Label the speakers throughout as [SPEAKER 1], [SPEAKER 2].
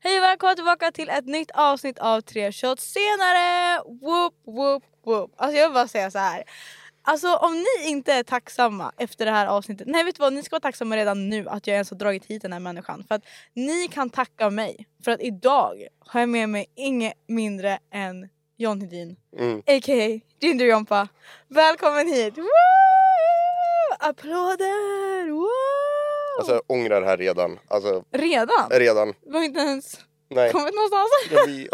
[SPEAKER 1] Hej och välkomna tillbaka till ett nytt avsnitt av Tre shots senare! Whoop, whoop, whoop. Alltså jag vill bara säga så här. Alltså om ni inte är tacksamma efter det här avsnittet. Nej vet du vad, ni ska vara tacksamma redan nu att jag ens har dragit hit den här människan. För att ni kan tacka mig. För att idag har jag med mig inget mindre än John Hedin.
[SPEAKER 2] Mm.
[SPEAKER 1] A.k.a. Ginger Jompa. Välkommen hit! Woo! Applåder! Woo!
[SPEAKER 2] Alltså jag ångrar det här redan. Alltså
[SPEAKER 1] redan?
[SPEAKER 2] redan.
[SPEAKER 1] Det var inte ens
[SPEAKER 2] Nej.
[SPEAKER 1] kommit någonstans.
[SPEAKER 2] Jag blir-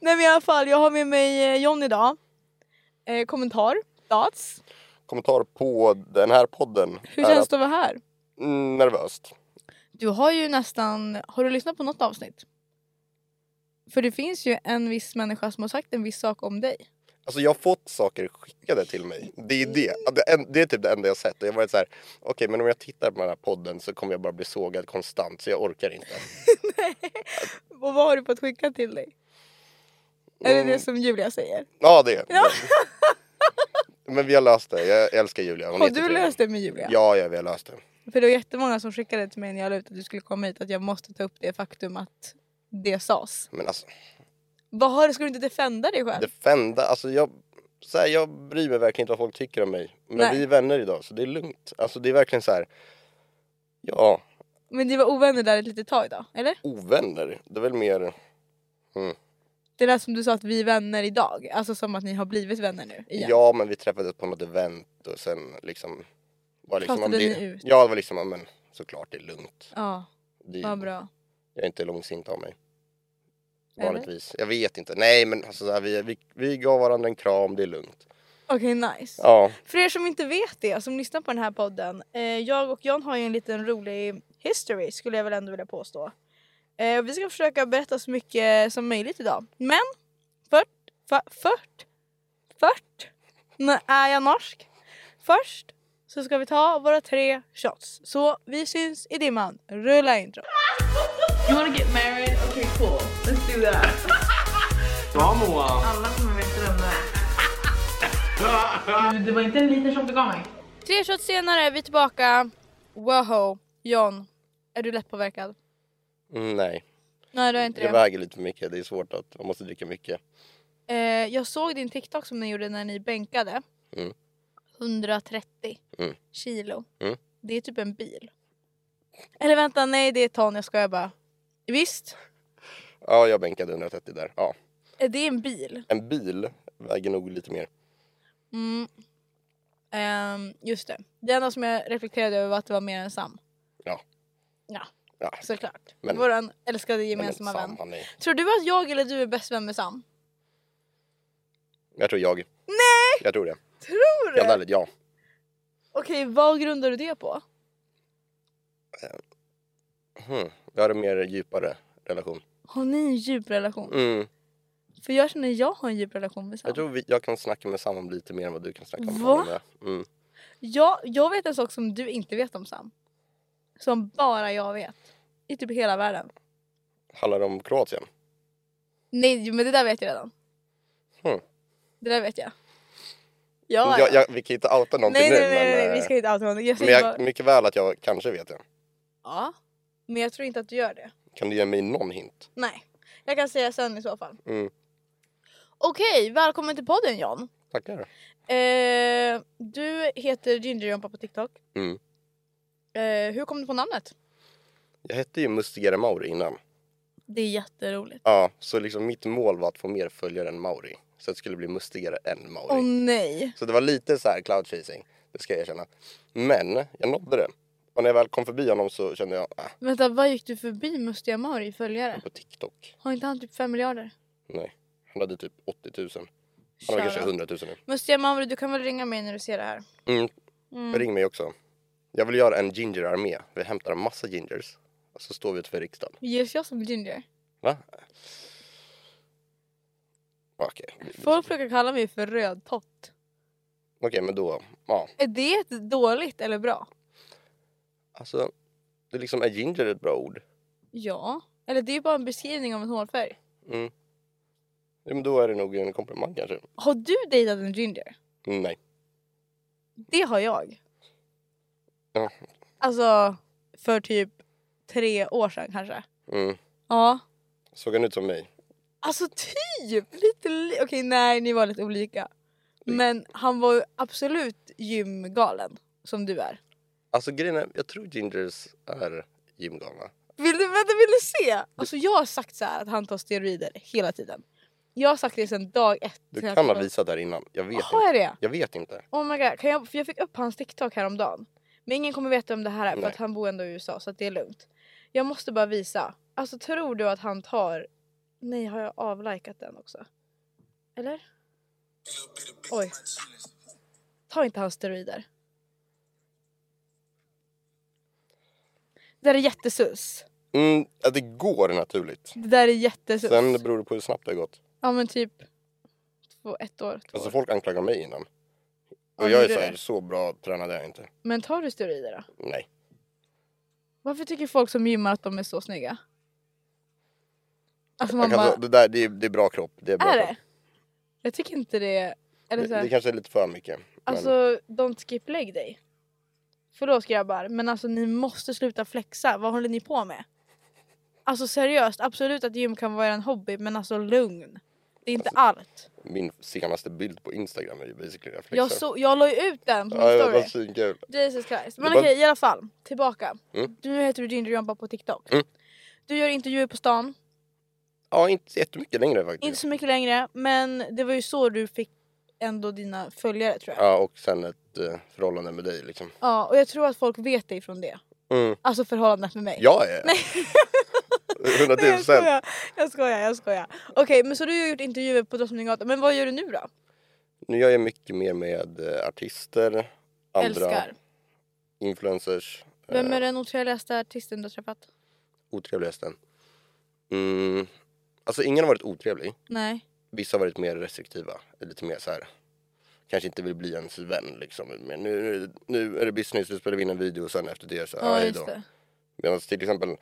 [SPEAKER 1] Nej men i alla fall, jag har med mig eh, John idag. Eh, kommentar, stats.
[SPEAKER 2] Kommentar på den här podden.
[SPEAKER 1] Hur
[SPEAKER 2] är
[SPEAKER 1] känns
[SPEAKER 2] att-
[SPEAKER 1] det att vara här?
[SPEAKER 2] Mm, Nervöst.
[SPEAKER 1] Du har ju nästan, har du lyssnat på något avsnitt? För det finns ju en viss människa som har sagt en viss sak om dig.
[SPEAKER 2] Alltså jag har fått saker skickade till mig. Det är det. Ja, Det är, det är typ det enda jag har sett. Och jag har varit så här, okej men om jag tittar på den här podden så kommer jag bara bli sågad konstant så jag orkar inte.
[SPEAKER 1] Och vad har du fått skicka till dig? Är
[SPEAKER 2] Mm.
[SPEAKER 1] det det som Julia säger?
[SPEAKER 2] Ja det är Men vi har löst det. Jag älskar Julia. Hon är
[SPEAKER 1] Har du
[SPEAKER 2] jättetrevlig.
[SPEAKER 1] löst det med Julia?
[SPEAKER 2] Ja, ja vi har löst det.
[SPEAKER 1] För det var jättemånga som skickade till mig när jag la ut att du skulle komma hit att jag måste ta upp det faktum att det sades.
[SPEAKER 2] Men alltså
[SPEAKER 1] Vad har du, ska du inte defenda dig själv?
[SPEAKER 2] defenda. Alltså jag, så här, jag bryr mig verkligen inte vad folk tycker om mig. Men
[SPEAKER 1] Nej.
[SPEAKER 2] vi är vänner idag så det är lugnt. Alltså det är verkligen så här. Ja,
[SPEAKER 1] Men ni var ovänner där ett litet tag idag, eller?
[SPEAKER 2] ovänner. Det är väl mer.
[SPEAKER 1] Det lät som du sa att vi är vänner idag, alltså som att ni har blivit vänner nu igen.
[SPEAKER 2] Ja, men vi träffades på något event och sen liksom. Var liksom
[SPEAKER 1] Pratade
[SPEAKER 2] det,
[SPEAKER 1] ni ut?
[SPEAKER 2] Ja, det var liksom. ja, Men såklart det är lugnt.
[SPEAKER 1] Ja,
[SPEAKER 2] Det,
[SPEAKER 1] vad bra.
[SPEAKER 2] Jag är inte långsint av mig.
[SPEAKER 1] Eller?
[SPEAKER 2] Vanligtvis. Jag vet inte. Nej, men alltså, så här, vi, vi, vi gav varandra en kram. Det är lugnt.
[SPEAKER 1] Okej, nice.
[SPEAKER 2] Ja,
[SPEAKER 1] För er som inte vet det, som lyssnar på den här podden. Eh, jag och John har ju en liten rolig history skulle jag väl ändå vilja påstå. Eh, vi ska försöka berätta så mycket som möjligt idag. Men, fört, fa, fört, fört, när är jag norsk? Först så ska vi ta våra tre shots. Så vi syns i dimman. Rulla intro.
[SPEAKER 3] You wanna get married? Okay, cool. Let's do that. Oh, Vamos! Alla kommer veta vem det är. Det var inte en liten som begav mig.
[SPEAKER 1] Tre shots senare är vi tillbaka. Wow, John. Är du lättpåverkad?
[SPEAKER 2] mm, nej.
[SPEAKER 1] Nej du är inte
[SPEAKER 2] Det
[SPEAKER 1] det.
[SPEAKER 2] väger lite för mycket. Det är svårt att man måste dricka mycket.
[SPEAKER 1] Eh, jag såg din TikTok som ni gjorde när ni bänkade.
[SPEAKER 2] Mm.
[SPEAKER 1] 130
[SPEAKER 2] Mm.
[SPEAKER 1] kilo.
[SPEAKER 2] Mm.
[SPEAKER 1] Det är typ en bil. Eller vänta, nej det är ton, jag skojar bara. Visst,
[SPEAKER 2] Ja, jag bänkade 130 där. Ja.
[SPEAKER 1] eh, det är en bil.
[SPEAKER 2] En bil väger nog lite mer.
[SPEAKER 1] Mm. Ehm, just det. Det enda som jag reflekterade över var att det var mer än Sam.
[SPEAKER 2] Ja.
[SPEAKER 1] Ja,
[SPEAKER 2] Ja.
[SPEAKER 1] såklart.
[SPEAKER 2] Men-
[SPEAKER 1] Vår älskade
[SPEAKER 2] men
[SPEAKER 1] gemensamma
[SPEAKER 2] fan,
[SPEAKER 1] vän.
[SPEAKER 2] han är-
[SPEAKER 1] Tror du att jag eller du är bäst vän med Sam?
[SPEAKER 2] Jag tror jag.
[SPEAKER 1] Nej!
[SPEAKER 2] Jag tror det.
[SPEAKER 1] Tror
[SPEAKER 2] Helt
[SPEAKER 1] du?
[SPEAKER 2] ärligt, ja.
[SPEAKER 1] Okej, vad grundar du det på?
[SPEAKER 2] Hmm. Jag har en mer djupare relation.
[SPEAKER 1] Har ni en djup relation?
[SPEAKER 2] Mm.
[SPEAKER 1] För jag känner jag har en djup relation med Sam.
[SPEAKER 2] Jag tror vi, jag kan snacka med Sam om lite mer än vad du kan snacka om
[SPEAKER 1] Va?
[SPEAKER 2] honom. Mm.
[SPEAKER 1] jag, jag vet en sak som du inte vet om Sam. Som bara jag vet. I typ hela världen.
[SPEAKER 2] Handlar det om Kroatien?
[SPEAKER 1] Nej men det där vet jag redan.
[SPEAKER 2] Hmm.
[SPEAKER 1] Det där vet jag. Ja,
[SPEAKER 2] Mm, Jag,
[SPEAKER 1] ja.
[SPEAKER 2] jag, vi kan inte outa någonting
[SPEAKER 1] Nej, nej,
[SPEAKER 2] nu
[SPEAKER 1] nej, nej,
[SPEAKER 2] men,
[SPEAKER 1] nej, vi ska
[SPEAKER 2] eh,
[SPEAKER 1] inte outa honom. Jag
[SPEAKER 2] men
[SPEAKER 1] säger
[SPEAKER 2] jag,
[SPEAKER 1] bara,
[SPEAKER 2] mycket väl att jag kanske vet det.
[SPEAKER 1] ja. Men jag tror inte att du gör det.
[SPEAKER 2] Kan du ge mig någon hint?
[SPEAKER 1] Nej. Jag kan säga sen i så fall.
[SPEAKER 2] Mm.
[SPEAKER 1] Okej, välkommen till podden John.
[SPEAKER 2] Tackar.
[SPEAKER 1] Eh, du heter Gingerjompa på TikTok.
[SPEAKER 2] Mm.
[SPEAKER 1] Eh, hur kom du på namnet? Jag
[SPEAKER 2] hette ju Mustigare Mauri innan.
[SPEAKER 1] Det är jätteroligt.
[SPEAKER 2] Ja, så liksom mitt mål var att få mer följare än Mauri. Så att det skulle bli mustigare än Mauri.
[SPEAKER 1] Åh nej.
[SPEAKER 2] Så det var lite så här cloud chasing, det ska jag erkänna. Men jag nådde det. Och när jag väl kom förbi honom så kände jag, ah,
[SPEAKER 1] Vänta, vad gick du förbi Mustiga Mauri i följare?
[SPEAKER 2] på TikTok.
[SPEAKER 1] Har inte han typ 5 miljarder?
[SPEAKER 2] Nej, han hade typ 80 000. Han har
[SPEAKER 1] Shout
[SPEAKER 2] kanske
[SPEAKER 1] out.
[SPEAKER 2] 100 000 nu.
[SPEAKER 1] Mustiga Mauri, du kan väl ringa mig när du ser det här?
[SPEAKER 2] Mm.
[SPEAKER 1] Mm.
[SPEAKER 2] Ring mig också. Jag vill göra en ginger-armé. Vi hämtar en massa gingers. Och så står vi utanför riksdagen.
[SPEAKER 1] Ges jag som ginger?
[SPEAKER 2] Va? Okej,
[SPEAKER 1] Folk brukar kalla mig för rödtott.
[SPEAKER 2] Okej, men då, ja.
[SPEAKER 1] Är det ett dåligt eller bra?
[SPEAKER 2] Alltså, det liksom, är ginger ett bra ord?
[SPEAKER 1] Ja. Eller det är ju bara en beskrivning av en hårfärg.
[SPEAKER 2] Mm. Ja, men då är det nog en komplimang kanske.
[SPEAKER 1] Har du dejtat en ginger?
[SPEAKER 2] Nej.
[SPEAKER 1] Det har jag.
[SPEAKER 2] Ja.
[SPEAKER 1] Alltså för typ tre år sedan kanske.
[SPEAKER 2] Mm.
[SPEAKER 1] Ja.
[SPEAKER 2] Såg han ut som mig?
[SPEAKER 1] Alltså typ! Lite li- Okej nej ni var lite olika.
[SPEAKER 2] Mm.
[SPEAKER 1] Men han var ju absolut gymgalen. Som du är.
[SPEAKER 2] Alltså grejen är, jag tror gingers är gymgalna.
[SPEAKER 1] Vill du, vänta, vill du se? Alltså jag har sagt så här att han tar steroider hela tiden. Jag har sagt det sedan dag ett.
[SPEAKER 2] Du
[SPEAKER 1] Sen jag
[SPEAKER 2] kan ha
[SPEAKER 1] förstod-
[SPEAKER 2] visat det här innan. Jag vet
[SPEAKER 1] Har
[SPEAKER 2] inte.
[SPEAKER 1] jag det?
[SPEAKER 2] Jag vet inte.
[SPEAKER 1] Oh my god. Kan jag, för jag fick upp hans TikTok häromdagen. Men ingen kommer veta om det här är för
[SPEAKER 2] Nej.
[SPEAKER 1] att han bor ändå i USA så att det är lugnt. Jag måste bara visa. Alltså tror du att han tar... Nej har jag avlikat den också? Eller? Oj. Ta inte hans steroider. Det där är jättesus.
[SPEAKER 2] Mm, att det går naturligt.
[SPEAKER 1] Det där är jättesus.
[SPEAKER 2] Sen beror det på hur snabbt det har gått.
[SPEAKER 1] Ja men typ två, ett år. Två
[SPEAKER 2] Alltså
[SPEAKER 1] år.
[SPEAKER 2] folk anklagar mig innan.
[SPEAKER 1] Ja,
[SPEAKER 2] Och jag är
[SPEAKER 1] gjorde
[SPEAKER 2] så här,
[SPEAKER 1] det.
[SPEAKER 2] så bra tränad är jag inte.
[SPEAKER 1] Men tar du steroider då?
[SPEAKER 2] Nej.
[SPEAKER 1] Varför tycker folk som gymmar att de är så snygga? Alltså man
[SPEAKER 2] Jag kan,
[SPEAKER 1] bara,
[SPEAKER 2] säga, det där det är, det är bra kropp. Det är, bra
[SPEAKER 1] är
[SPEAKER 2] kropp.
[SPEAKER 1] det? Jag tycker inte det. Eller så
[SPEAKER 2] Det, det
[SPEAKER 1] här,
[SPEAKER 2] kanske är lite för mycket. Men
[SPEAKER 1] alltså don't skip leg day. Förlåt grabbar men alltså ni måste sluta flexa. Vad håller ni på med? Alltså seriöst, absolut att gym kan vara en hobby men alltså lugn. Det är inte allt.
[SPEAKER 2] min senaste bild på Instagram är ju basically reflexer.
[SPEAKER 1] Jag, så, jag la ju ut den på min
[SPEAKER 2] Ja, det
[SPEAKER 1] story.
[SPEAKER 2] var svinkul.
[SPEAKER 1] Jesus Christ. Men
[SPEAKER 2] Det var-
[SPEAKER 1] okej, i alla fall. Tillbaka.
[SPEAKER 2] Mm.
[SPEAKER 1] Du heter du Ginger Jumpa på TikTok.
[SPEAKER 2] Mm.
[SPEAKER 1] Du gör intervjuer på stan.
[SPEAKER 2] Ja, inte så jättemycket längre faktiskt.
[SPEAKER 1] Inte så mycket längre, men det var ju så du fick ändå dina följare tror jag. Ja,
[SPEAKER 2] Ja, och sen ett eh, förhållande med dig liksom.
[SPEAKER 1] och jag tror att folk vet dig från det.
[SPEAKER 2] Mm.
[SPEAKER 1] Alltså förhållandet med mig.
[SPEAKER 2] Ja, ja.
[SPEAKER 1] Nej.
[SPEAKER 2] Hundra
[SPEAKER 1] Nej, jag
[SPEAKER 2] tusen.
[SPEAKER 1] skojar, jag skojar, jag skojar. Okej, men så du har gjort intervjuer på Drottninggatan, men vad gör du nu då?
[SPEAKER 2] Nu gör jag mycket mer med eh, artister, andra
[SPEAKER 1] Älskar.
[SPEAKER 2] influencers.
[SPEAKER 1] Vem är den otrevligaste artisten du har träffat?
[SPEAKER 2] Otrevligasten. Mm. Alltså ingen har varit otrevlig.
[SPEAKER 1] Nej.
[SPEAKER 2] Vissa har varit mer restriktiva. Lite mer så här. Kanske inte vill bli ens vän liksom. Men nu, nu är det business, nu spelar vi in en video och sen efter det så
[SPEAKER 1] Ja,
[SPEAKER 2] här, hej
[SPEAKER 1] just
[SPEAKER 2] då.
[SPEAKER 1] det.
[SPEAKER 2] Medan till exempel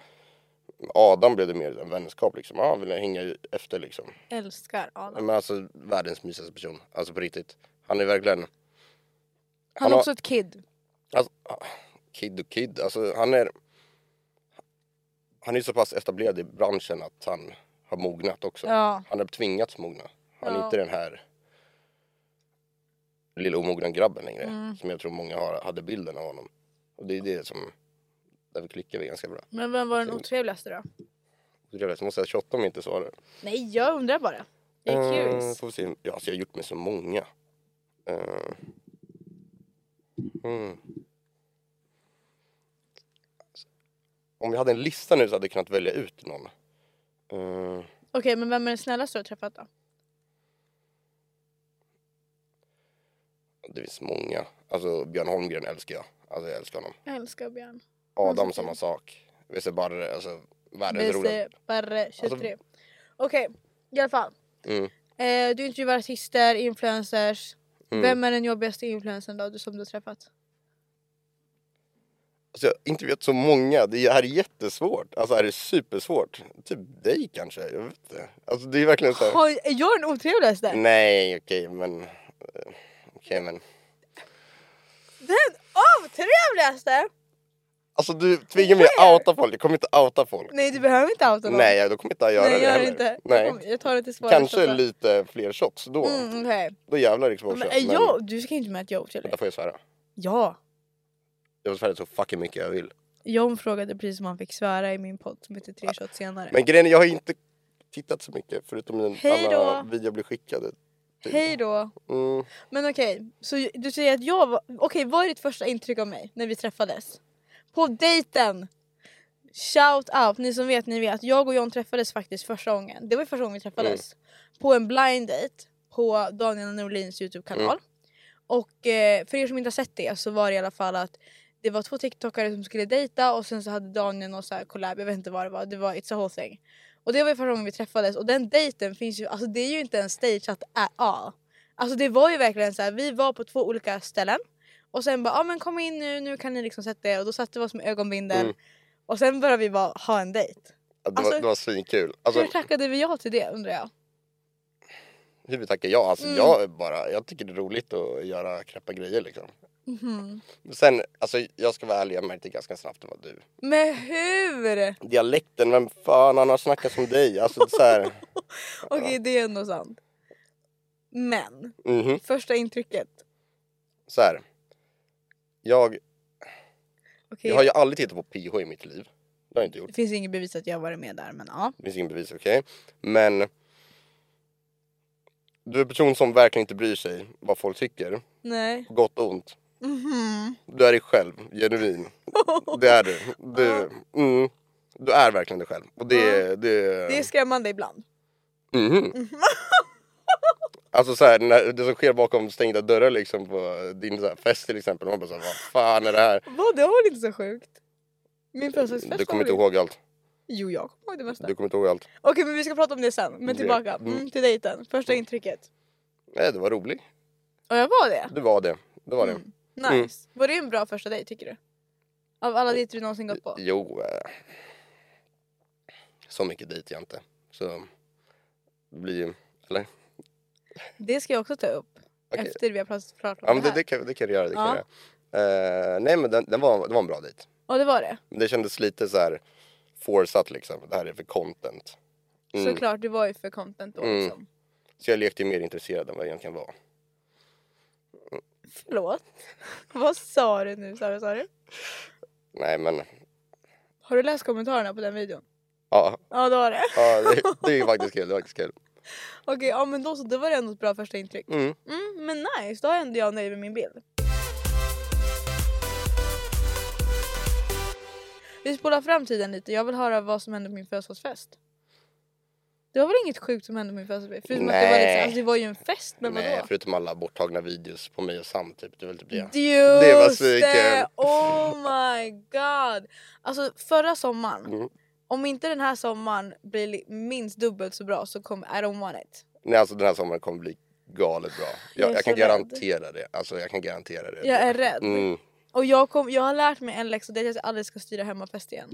[SPEAKER 2] Adam blev det mer en vänskap liksom. Ja, vill jag hänga efter liksom.
[SPEAKER 1] Älskar Adam.
[SPEAKER 2] Men alltså världens mysigaste person. Alltså på riktigt. Han är verkligen,
[SPEAKER 1] Han är
[SPEAKER 2] har-
[SPEAKER 1] också ett kid.
[SPEAKER 2] alltså, ah, kid och kid. Alltså han är, han är så pass etablerad i branschen att han har mognat också.
[SPEAKER 1] Ja.
[SPEAKER 2] Han har tvingats mogna. Han är
[SPEAKER 1] Ja.
[SPEAKER 2] inte den här lilla omogna grabben längre.
[SPEAKER 1] Mm.
[SPEAKER 2] Som jag tror många har, hade bilden av honom. Och det är det som, därför klickar vi ganska bra.
[SPEAKER 1] Men vem var den
[SPEAKER 2] Mm.
[SPEAKER 1] otrevligaste då?
[SPEAKER 2] Otrevligt, så måste jag tjotta om jag inte svarar.
[SPEAKER 1] Nej, jag undrar bara. Jag är
[SPEAKER 2] Eh,
[SPEAKER 1] curious.
[SPEAKER 2] får vi se. Ja, alltså jag har gjort med så många. Eh. Mm. Om vi hade en lista nu så hade jag kunnat välja ut någon. Eh,
[SPEAKER 1] Okej, men vem är den snällaste du har träffat då?
[SPEAKER 2] det finns många. Alltså Björn Holmgren älskar jag. Alltså jag älskar honom.
[SPEAKER 1] Jag älskar Björn.
[SPEAKER 2] Adam
[SPEAKER 1] fin.
[SPEAKER 2] samma sak. Vesse Barre, alltså världens roliga.
[SPEAKER 1] BC Barre 23. Okej, i alla fall.
[SPEAKER 2] Alltså- Mm.
[SPEAKER 1] Eh, du intervjuar artister, influencers.
[SPEAKER 2] Mm.
[SPEAKER 1] Vem är den jobbigaste influencern då, du, som du har träffat?
[SPEAKER 2] Alltså jag har intervjuat så många. Det här är jättesvårt. Alltså det här är supersvårt. Typ dig kanske. Jag vet inte. Alltså det är verkligen så här.
[SPEAKER 1] Har, är jag den otrevligaste?
[SPEAKER 2] Mm. Nej, okej, men... eh, Okej, men...
[SPEAKER 1] Den otrevligaste?
[SPEAKER 2] Alltså du tvingar mig att outa folk. Jag kommer inte outa folk.
[SPEAKER 1] Nej du behöver inte outa någon.
[SPEAKER 2] Nej, då kommer inte jag göra
[SPEAKER 1] Mm. Nej,
[SPEAKER 2] det
[SPEAKER 1] gör
[SPEAKER 2] heller.
[SPEAKER 1] det inte. Jag kommer-
[SPEAKER 2] Nej.
[SPEAKER 1] Jag tar det till svaret.
[SPEAKER 2] Kanske lite fler shots då.
[SPEAKER 1] Mm, okej.
[SPEAKER 2] Då jävlar exposure.
[SPEAKER 1] Men är jag... Du ska inte med att jag är otrevlig.
[SPEAKER 2] Vänta, får jag svära?
[SPEAKER 1] Ja.
[SPEAKER 2] Jag får svära så fucking mycket jag vill.
[SPEAKER 1] John frågade precis om han fick svära i min podd som heter Tre shots senare.
[SPEAKER 2] Men grejen är, jag har inte tittat så mycket förutom min
[SPEAKER 1] Hej då.
[SPEAKER 2] alla videor blir skickade.
[SPEAKER 1] Hej då.
[SPEAKER 2] Mm.
[SPEAKER 1] Men okej, så ju- du säger att jag var... Okej, vad är ditt första intryck av mig när vi träffades? På dejten! Shout out! Ni som vet, ni vet. Jag och John träffades faktiskt första gången. Det var ju första gången vi träffades. På en blind date på Daniel Norlins Youtube-kanal.
[SPEAKER 2] Mm.
[SPEAKER 1] Och eh, för er som inte har sett det så var det i alla fall att det var två tiktokare som skulle dejta och sen så hade Daniel någon så här collab, jag vet inte vad det var, det var It's a whole thing. Och det var ju första gången vi träffades och den dejten finns ju, alltså det är ju inte en stageat at all. Alltså det var ju verkligen så här, vi var på två olika ställen och sen bara ah, men kom in nu, nu kan ni liksom sätta er och då satte vi oss med ögonbindel
[SPEAKER 2] Mm.
[SPEAKER 1] och sen började vi bara ha en dejt.
[SPEAKER 2] Ja, Det,
[SPEAKER 1] Alltså-
[SPEAKER 2] var, det var svinkul. Alltså,
[SPEAKER 1] Hur tackade vi ja till det undrar jag?
[SPEAKER 2] hur tackar jag? Alltså,
[SPEAKER 1] Mm.
[SPEAKER 2] jag, är bara, jag tycker det är roligt att göra knäppa grejer liksom. Sen, alltså, jag ska vara ärlig, jag märkte ganska snabbt att det var du.
[SPEAKER 1] Men hur?
[SPEAKER 2] Dialekten, vem fan han har snackat som dig? Alltså det är så här,
[SPEAKER 1] Okej det är ändå sant. Men
[SPEAKER 2] mhm,
[SPEAKER 1] första intrycket.
[SPEAKER 2] så här. Jag,
[SPEAKER 1] Okej,
[SPEAKER 2] jag har ju aldrig tittat på PH i mitt liv. Det har jag inte gjort.
[SPEAKER 1] Det finns inget bevis att jag varit med där men ja.
[SPEAKER 2] Det finns ingen bevis, okej. Men du är en person som verkligen inte bryr sig vad folk tycker.
[SPEAKER 1] Nej.
[SPEAKER 2] På gott och ont.
[SPEAKER 1] Mhm.
[SPEAKER 2] Du är dig själv, genuin. Det är du. Du, mm, du är verkligen dig själv. Och det, det,
[SPEAKER 1] Det är skrämmande ibland.
[SPEAKER 2] Mhm. Alltså så här, när, det som sker bakom stängda dörrar liksom på din så här, fest till exempel. Man bara så här, vad fan är det här?
[SPEAKER 1] Vad det var väl inte så sjukt? Min födelsedagsfest
[SPEAKER 2] Du kommer
[SPEAKER 1] Alltså, var väl-
[SPEAKER 2] inte ihåg allt.
[SPEAKER 1] Jo jag kommer ihåg det mesta.
[SPEAKER 2] Du kommer inte ihåg allt.
[SPEAKER 1] Okej men vi ska prata om det sen. Men
[SPEAKER 2] Okej.
[SPEAKER 1] tillbaka
[SPEAKER 2] Mm.
[SPEAKER 1] mm, till dejten. Första intrycket.
[SPEAKER 2] Nej, det var roligt.
[SPEAKER 1] Och jag var det.
[SPEAKER 2] Det var det. Det var det.
[SPEAKER 1] Mm. Nice. Var det en bra första dejt tycker du? Av alla dejter du någonsin gått på?
[SPEAKER 2] Jo. Eh, så mycket dit jag inte. Så det blir ju... Eller?
[SPEAKER 1] Det ska jag också ta upp.
[SPEAKER 2] Okej.
[SPEAKER 1] Efter vi har pratat klart om det
[SPEAKER 2] Ja men det,
[SPEAKER 1] här.
[SPEAKER 2] det, kan, det kan du göra. Det kan
[SPEAKER 1] Ja.
[SPEAKER 2] du göra. Eh, nej men den, den var, det var en bra dejt.
[SPEAKER 1] Ja det var det.
[SPEAKER 2] Men Det kändes lite så här forceat liksom. Det här är för content. Mm.
[SPEAKER 1] Såklart, det var ju för content då
[SPEAKER 2] Mm.
[SPEAKER 1] liksom.
[SPEAKER 2] Så jag lekte ju mer intresserad än vad jag egentligen var.
[SPEAKER 1] Förlåt. Vad sa du nu Sara? Sa du?
[SPEAKER 2] Nej men,
[SPEAKER 1] Har du läst kommentarerna på den videon?
[SPEAKER 2] ja.
[SPEAKER 1] Ja det har det.
[SPEAKER 2] ja det, det är ju faktiskt kul. Det är faktiskt kul.
[SPEAKER 1] Okej, ja men då så. Det var det ändå ett bra första intryck.
[SPEAKER 2] Mm.
[SPEAKER 1] Mm, men nice, då är ändå jag nöjd med min bild. Vi spolar fram tiden lite. Jag vill höra vad som hände på min födelsedagsfest. Det var väl inget sjukt som hände på min födelsedagsfest? Förutom att det var, liksom,
[SPEAKER 2] Nej.
[SPEAKER 1] alltså, det var ju en fest, men
[SPEAKER 2] Nej,
[SPEAKER 1] vadå?
[SPEAKER 2] förutom alla borttagna videos på mig och Sam typ. Det är väl typ det.
[SPEAKER 1] Just
[SPEAKER 2] Det var svinkul.
[SPEAKER 1] Oh my god! Alltså förra sommaren,
[SPEAKER 2] Mm.
[SPEAKER 1] om inte den här sommaren blir li- minst dubbelt så bra så kommer I don't want it.
[SPEAKER 2] Nej alltså den här sommaren kommer bli galet bra.
[SPEAKER 1] Jag
[SPEAKER 2] Jag,
[SPEAKER 1] är
[SPEAKER 2] jag,
[SPEAKER 1] så
[SPEAKER 2] kan
[SPEAKER 1] rädd.
[SPEAKER 2] garantera det. Alltså jag kan garantera det.
[SPEAKER 1] Jag är rädd.
[SPEAKER 2] Mm.
[SPEAKER 1] Och jag, kom, jag har lärt mig en läxa det är att jag aldrig ska styra hemmafest igen.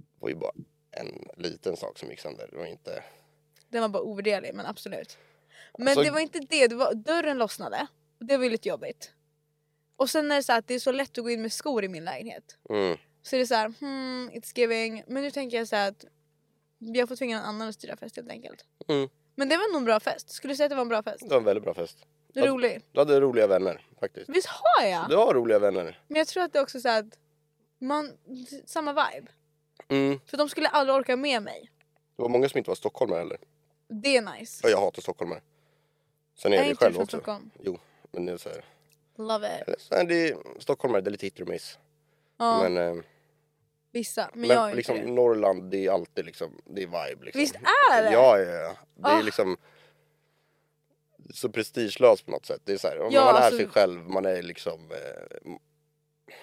[SPEAKER 2] Det var ju bara en liten sak som gick sönder. Det var inte...
[SPEAKER 1] Den var bara ovärderlig, men absolut. Men
[SPEAKER 2] Alltså-
[SPEAKER 1] det var inte det, det var, dörren lossnade. Och det var ju lite jobbigt. Och sen är det så här att det är så lätt att gå in med skor i min lägenhet.
[SPEAKER 2] Mm.
[SPEAKER 1] Så det är så här, hmm, it's giving. Men nu tänker jag så här att jag får tvinga någon annan att styra fest helt enkelt.
[SPEAKER 2] Mm.
[SPEAKER 1] Men det var nog en bra fest. Skulle du säga att det var en bra fest?
[SPEAKER 2] Det var en väldigt bra fest. Ja.
[SPEAKER 1] Rolig.
[SPEAKER 2] Du hade roliga vänner faktiskt.
[SPEAKER 1] Visst har jag?
[SPEAKER 2] Du har roliga vänner.
[SPEAKER 1] Men jag tror att det är också så här att man, samma vibe.
[SPEAKER 2] Mm.
[SPEAKER 1] För de skulle aldrig orka med mig.
[SPEAKER 2] Det var många som inte var stockholmare heller.
[SPEAKER 1] Det är nice.
[SPEAKER 2] Och jag hatar stockholmare. Sen är
[SPEAKER 1] Jag
[SPEAKER 2] jag
[SPEAKER 1] är
[SPEAKER 2] det
[SPEAKER 1] inte
[SPEAKER 2] själv
[SPEAKER 1] från
[SPEAKER 2] också.
[SPEAKER 1] Stockholm.
[SPEAKER 2] Jo, men det är så här.
[SPEAKER 1] Love it.
[SPEAKER 2] Eller så är det stockholmare, det är lite hit och miss.
[SPEAKER 1] Ja,
[SPEAKER 2] Men, eh,
[SPEAKER 1] vissa. Men,
[SPEAKER 2] men,
[SPEAKER 1] jag är
[SPEAKER 2] liksom
[SPEAKER 1] inte det.
[SPEAKER 2] Norrland, det är alltid liksom, det är vibe liksom.
[SPEAKER 1] Visst är det?
[SPEAKER 2] Ja, ja, ja. Det är
[SPEAKER 1] Ah.
[SPEAKER 2] liksom så prestigelöst på något sätt. Det är så här, om
[SPEAKER 1] Ja,
[SPEAKER 2] man är
[SPEAKER 1] alltså-
[SPEAKER 2] sig själv, man är liksom... Eh,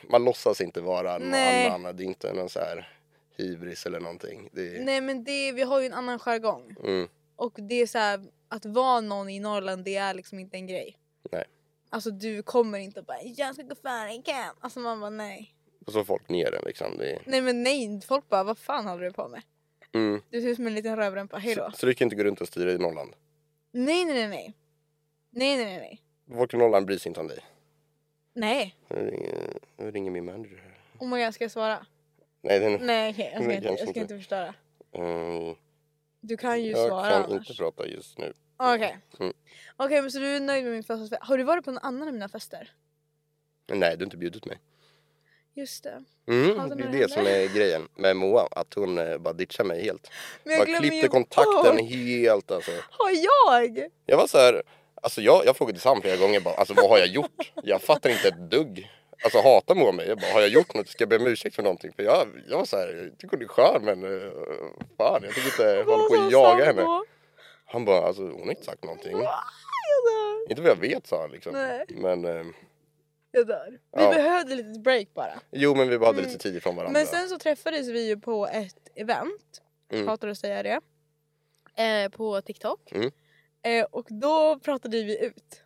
[SPEAKER 2] man låtsas inte vara någon
[SPEAKER 1] Nej.
[SPEAKER 2] annan. Det är inte någon så här hybris eller någonting. Det är,
[SPEAKER 1] Nej men det, vi har ju en annan jargong.
[SPEAKER 2] mm,
[SPEAKER 1] Och det är så här, att vara någon i Norrland det är liksom inte en grej.
[SPEAKER 2] Nej.
[SPEAKER 1] Alltså du kommer inte och bara “jag ska gå före igen”. Alltså man bara nej.
[SPEAKER 2] och så folk ner den liksom. Det är,
[SPEAKER 1] Nej men nej, folk bara “vad fan håller du på med?”
[SPEAKER 2] mm.
[SPEAKER 1] Du ser ut som en liten rövrempa, hejdå.
[SPEAKER 2] så, så du kan inte gå runt och styra i Norrland.
[SPEAKER 1] Nej nej nej nej. Nej nej nej nej.
[SPEAKER 2] Folk i Norrland bryr sig inte om dig.
[SPEAKER 1] Nej.
[SPEAKER 2] Nu ringer, nu ringer min manager här.
[SPEAKER 1] Oh my god, ska jag svara?
[SPEAKER 2] Nej, den...
[SPEAKER 1] Nej okej, jag, ska
[SPEAKER 2] Nej,
[SPEAKER 1] inte- jag
[SPEAKER 2] kanske
[SPEAKER 1] ska
[SPEAKER 2] inte.
[SPEAKER 1] inte förstöra.
[SPEAKER 2] Mm,
[SPEAKER 1] Du kan ju
[SPEAKER 2] jag
[SPEAKER 1] svara
[SPEAKER 2] kan
[SPEAKER 1] annars.
[SPEAKER 2] inte prata just nu.
[SPEAKER 1] Okej.
[SPEAKER 2] Mm.
[SPEAKER 1] Okej men så du är nöjd med min födelsedagsfest. Har du varit på någon annan av mina fester?
[SPEAKER 2] Nej, du har inte bjudit mig.
[SPEAKER 1] Just det. Hatar
[SPEAKER 2] Mm, det
[SPEAKER 1] när
[SPEAKER 2] är
[SPEAKER 1] det
[SPEAKER 2] det som
[SPEAKER 1] Alltså, händer.
[SPEAKER 2] är grejen med Moa, att hon eh, bara ditchar mig helt.
[SPEAKER 1] Men jag
[SPEAKER 2] bara
[SPEAKER 1] glömmer
[SPEAKER 2] klippte
[SPEAKER 1] ju
[SPEAKER 2] kontakten
[SPEAKER 1] bort.
[SPEAKER 2] helt alltså.
[SPEAKER 1] Har jag?
[SPEAKER 2] Jag var så här, alltså jag, jag frågade Sam flera gånger bara, alltså vad har jag gjort? Jag fattar inte ett dugg. Alltså hatar Moa mig? Jag bara, har jag gjort något? Ska jag be om ursäkt för någonting? För jag, jag var så här, jag tycker hon är skön men eh, fan jag tänker inte hålla
[SPEAKER 1] Vad
[SPEAKER 2] på
[SPEAKER 1] sa
[SPEAKER 2] och jaga
[SPEAKER 1] Sam
[SPEAKER 2] henne. Mm.
[SPEAKER 1] då? Ah,
[SPEAKER 2] Han bara, alltså hon har inte sagt någonting.
[SPEAKER 1] Jag dör.
[SPEAKER 2] Inte vad jag vet sa han liksom.
[SPEAKER 1] Nej.
[SPEAKER 2] Men eh,
[SPEAKER 1] Jag dör. Vi
[SPEAKER 2] Ja.
[SPEAKER 1] behövde lite break bara.
[SPEAKER 2] jo men vi bara hade
[SPEAKER 1] Mm.
[SPEAKER 2] lite tid ifrån varandra.
[SPEAKER 1] Men sen så träffades vi ju på ett event
[SPEAKER 2] Mm.
[SPEAKER 1] hatar att säga det. Eh, på TikTok.
[SPEAKER 2] Mm.
[SPEAKER 1] Eh, och då pratade vi ut.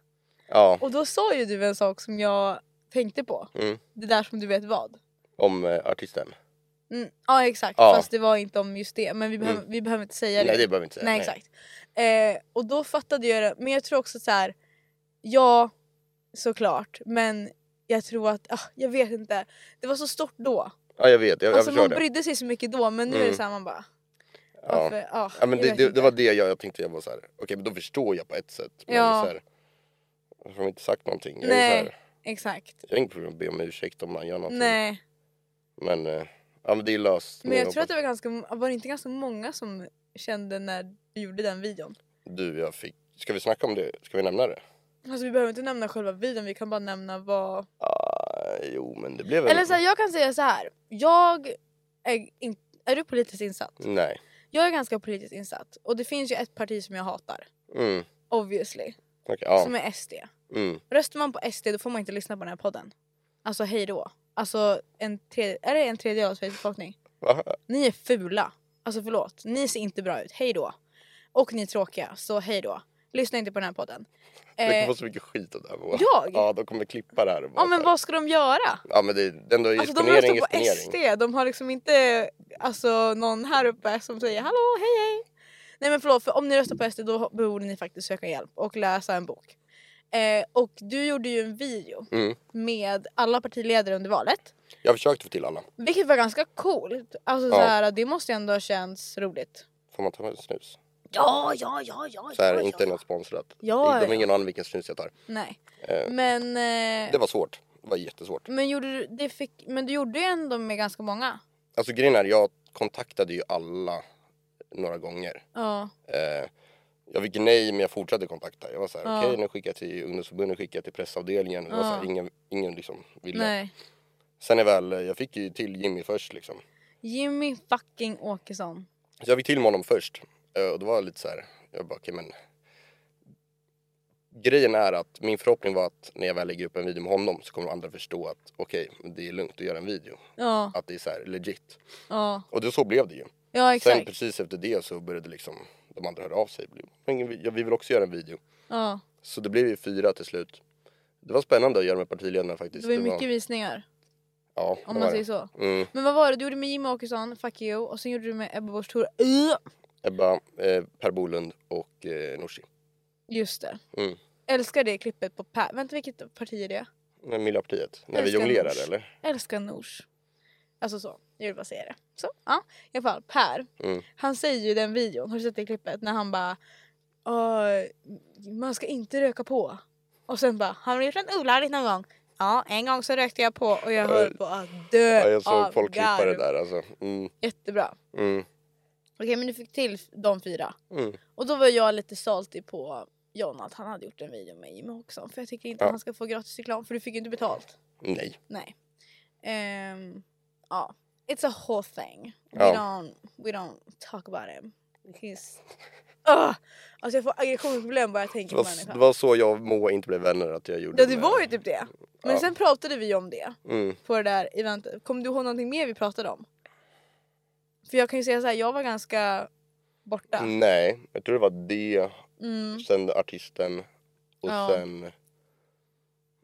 [SPEAKER 2] Ja,
[SPEAKER 1] Och då sa ju du en sak som jag tänkte på.
[SPEAKER 2] Mm.
[SPEAKER 1] Det där som du vet vad.
[SPEAKER 2] om eh, artisten.
[SPEAKER 1] Mm, ja exakt,
[SPEAKER 2] Ja. Mm.
[SPEAKER 1] fast det var inte om just det. Men vi, behöver, vi behöver inte säga det.
[SPEAKER 2] Nej det behöver vi inte säga.
[SPEAKER 1] Nej, exakt. Eh, och då fattade jag det. Men jag tror också så här. ja såklart men jag tror att, ah, jag vet inte. Det var så stort då.
[SPEAKER 2] Ja jag vet, jag,
[SPEAKER 1] alltså
[SPEAKER 2] jag förstår
[SPEAKER 1] man
[SPEAKER 2] det.
[SPEAKER 1] brydde sig så mycket då men nu är det
[SPEAKER 2] Mm.
[SPEAKER 1] såhär man bara,
[SPEAKER 2] Ja.
[SPEAKER 1] varför? Ja. Ah,
[SPEAKER 2] Ja, men
[SPEAKER 1] jag
[SPEAKER 2] det,
[SPEAKER 1] vet
[SPEAKER 2] det,
[SPEAKER 1] inte.
[SPEAKER 2] det var det jag, jag tänkte, jag var så här, okej men då förstår jag på ett sätt. Men
[SPEAKER 1] Ja.
[SPEAKER 2] så här, jag har inte sagt någonting. Jag,
[SPEAKER 1] Nej.
[SPEAKER 2] är så här,
[SPEAKER 1] Exakt.
[SPEAKER 2] jag har inget problem att be om ursäkt om man gör någonting.
[SPEAKER 1] Nej.
[SPEAKER 2] Men, eh, ja, men det är löst.
[SPEAKER 1] Men jag tror att det var ganska, var det inte ganska många som kände när vi gjorde den videon?
[SPEAKER 2] Du jag fick, ska vi snacka om det? Ska vi nämna det?
[SPEAKER 1] Alltså vi behöver inte nämna själva videon, vi kan bara nämna vad...
[SPEAKER 2] Ah, jo men det blev en...
[SPEAKER 1] Eller så här, jag kan säga så här. jag är, in... är du politiskt insatt?
[SPEAKER 2] Nej.
[SPEAKER 1] Jag är ganska politiskt insatt och det finns ju ett parti som jag hatar.
[SPEAKER 2] Mm.
[SPEAKER 1] Obviously.
[SPEAKER 2] Okej, ja.
[SPEAKER 1] Som är SD.
[SPEAKER 2] Mm.
[SPEAKER 1] Röstar man på SD då får man inte lyssna på den här podden. Alltså hej då. Alltså en tredje, är det en tredjedel av Sveriges befolkning?
[SPEAKER 2] Va?
[SPEAKER 1] Ni är fula. Alltså förlåt, ni ser inte bra ut. Hej då. Och ni är tråkiga, så hej då. Lyssna inte på den här podden.
[SPEAKER 2] Du kommer
[SPEAKER 1] Eh,
[SPEAKER 2] få så mycket skit av det här Moa.
[SPEAKER 1] jag?
[SPEAKER 2] Ja, de kommer klippa det här. och bara
[SPEAKER 1] ja men
[SPEAKER 2] så här.
[SPEAKER 1] vad ska de göra?
[SPEAKER 2] Ja men det är ändå
[SPEAKER 1] Alltså de
[SPEAKER 2] exponering,
[SPEAKER 1] röstar på
[SPEAKER 2] exponering.
[SPEAKER 1] SD, de har liksom inte alltså, någon här uppe som säger hallå, hej hej. Nej men förlåt, för om ni röstar på SD då borde ni faktiskt söka hjälp och läsa en bok. Eh, och du gjorde ju en video
[SPEAKER 2] Mm.
[SPEAKER 1] med alla partiledare under valet.
[SPEAKER 2] Jag försökte få till alla.
[SPEAKER 1] Vilket var ganska coolt. Alltså
[SPEAKER 2] Ja.
[SPEAKER 1] så här, det måste ju ändå ha känts roligt.
[SPEAKER 2] Får man ta med snus?
[SPEAKER 1] Ja, ja, ja, ja.
[SPEAKER 2] Så här,
[SPEAKER 1] ja,
[SPEAKER 2] inte
[SPEAKER 1] ja.
[SPEAKER 2] något sponsrat.
[SPEAKER 1] Ja,
[SPEAKER 2] de har
[SPEAKER 1] ja.
[SPEAKER 2] ingen aning vilken snus jag tar.
[SPEAKER 1] Nej.
[SPEAKER 2] Eh,
[SPEAKER 1] Men, eh,
[SPEAKER 2] Det var svårt. Det var jättesvårt.
[SPEAKER 1] men, gjorde du, det fick, men du gjorde ju ändå med ganska många.
[SPEAKER 2] Alltså grejen är, jag kontaktade ju alla några gånger.
[SPEAKER 1] Ja,
[SPEAKER 2] Eh, jag fick nej men jag fortsatte kontakta. Jag var så här,
[SPEAKER 1] Ja.
[SPEAKER 2] okej nu skickar jag till ungdomsförbundet, skickar jag till pressavdelningen. Det var
[SPEAKER 1] Ja.
[SPEAKER 2] så här, ingen, ingen liksom ville.
[SPEAKER 1] nej.
[SPEAKER 2] Sen är väl, eh, jag fick ju till Jimmy först liksom.
[SPEAKER 1] Jimmy fucking Åkesson.
[SPEAKER 2] Så jag fick till med honom först. Eh, Och det var lite så här, jag bara okej men. Grejen är att min förhoppning var att när jag väl lägger upp en video med honom så kommer andra förstå att okej, men det är lugnt att göra en video.
[SPEAKER 1] Ja,
[SPEAKER 2] Att det är så här legit.
[SPEAKER 1] ja,
[SPEAKER 2] Och det, så blev det ju.
[SPEAKER 1] ja
[SPEAKER 2] Sen
[SPEAKER 1] exakt.
[SPEAKER 2] precis efter det så började liksom de andra höra av sig. Men ingen- ja, vi vill också göra en video.
[SPEAKER 1] Ja.
[SPEAKER 2] Så det blev ju fyra till slut. Det var spännande att göra med partiledarna faktiskt.
[SPEAKER 1] Det var ju mycket visningar
[SPEAKER 2] ja, det
[SPEAKER 1] om
[SPEAKER 2] var
[SPEAKER 1] man
[SPEAKER 2] det.
[SPEAKER 1] säger så.
[SPEAKER 2] Mm.
[SPEAKER 1] Men vad var det du gjorde med Jimmy Åkesson, fuck you, och sen gjorde du med Ebba Busch Thor. Ugh!
[SPEAKER 2] Ebba, eh, Per Bolund och eh, Nooshi.
[SPEAKER 1] Just det.
[SPEAKER 2] Mm.
[SPEAKER 1] Älskar det klippet på Per. Vänta vilket parti är det?
[SPEAKER 2] Men Miljöpartiet. När vi
[SPEAKER 1] Älskar
[SPEAKER 2] jonglerar
[SPEAKER 1] Nooshi.
[SPEAKER 2] eller?
[SPEAKER 1] Älskar Nors. Alltså så, jag vill bara säga det. Så, ja. I alla fall, Per.
[SPEAKER 2] Mm.
[SPEAKER 1] Han säger ju i den videon, har du sett det klippet? När han bara "Åh, Man ska inte röka på. Och sen bara, har du gjort något olagligt någon gång? Ja, en gång så rökte jag på och jag höll på att dö
[SPEAKER 2] Ja, jag såg
[SPEAKER 1] av
[SPEAKER 2] folk klippa det
[SPEAKER 1] garv.
[SPEAKER 2] där alltså. Mm,
[SPEAKER 1] Jättebra.
[SPEAKER 2] mm,
[SPEAKER 1] Okej men du fick till de fyra.
[SPEAKER 2] mm.
[SPEAKER 1] Och då var jag lite salty på John att han hade gjort en video med Jimmy Åkesson. För jag tycker inte
[SPEAKER 2] Ja.
[SPEAKER 1] att han ska få gratis reklam för du fick ju inte betalt.
[SPEAKER 2] Nej.
[SPEAKER 1] Nej. Ehm, ja. It's a whole thing. We,
[SPEAKER 2] Ja.
[SPEAKER 1] don't, we don't talk about him. He's... Uh, alltså jag får aggressionsproblem bara jag
[SPEAKER 2] Det
[SPEAKER 1] tänker på
[SPEAKER 2] var,
[SPEAKER 1] människan.
[SPEAKER 2] det var så jag och Moa inte blev vänner att jag gjorde
[SPEAKER 1] Ja det var ju typ det. Men
[SPEAKER 2] Ja.
[SPEAKER 1] sen pratade vi om det
[SPEAKER 2] Mm.
[SPEAKER 1] på det där eventet. Kommer du ihåg någonting mer vi pratade om? För jag kan ju säga så här, jag var ganska borta.
[SPEAKER 2] Nej, jag tror det var det,
[SPEAKER 1] Mm.
[SPEAKER 2] sen artisten och
[SPEAKER 1] Ja.
[SPEAKER 2] sen...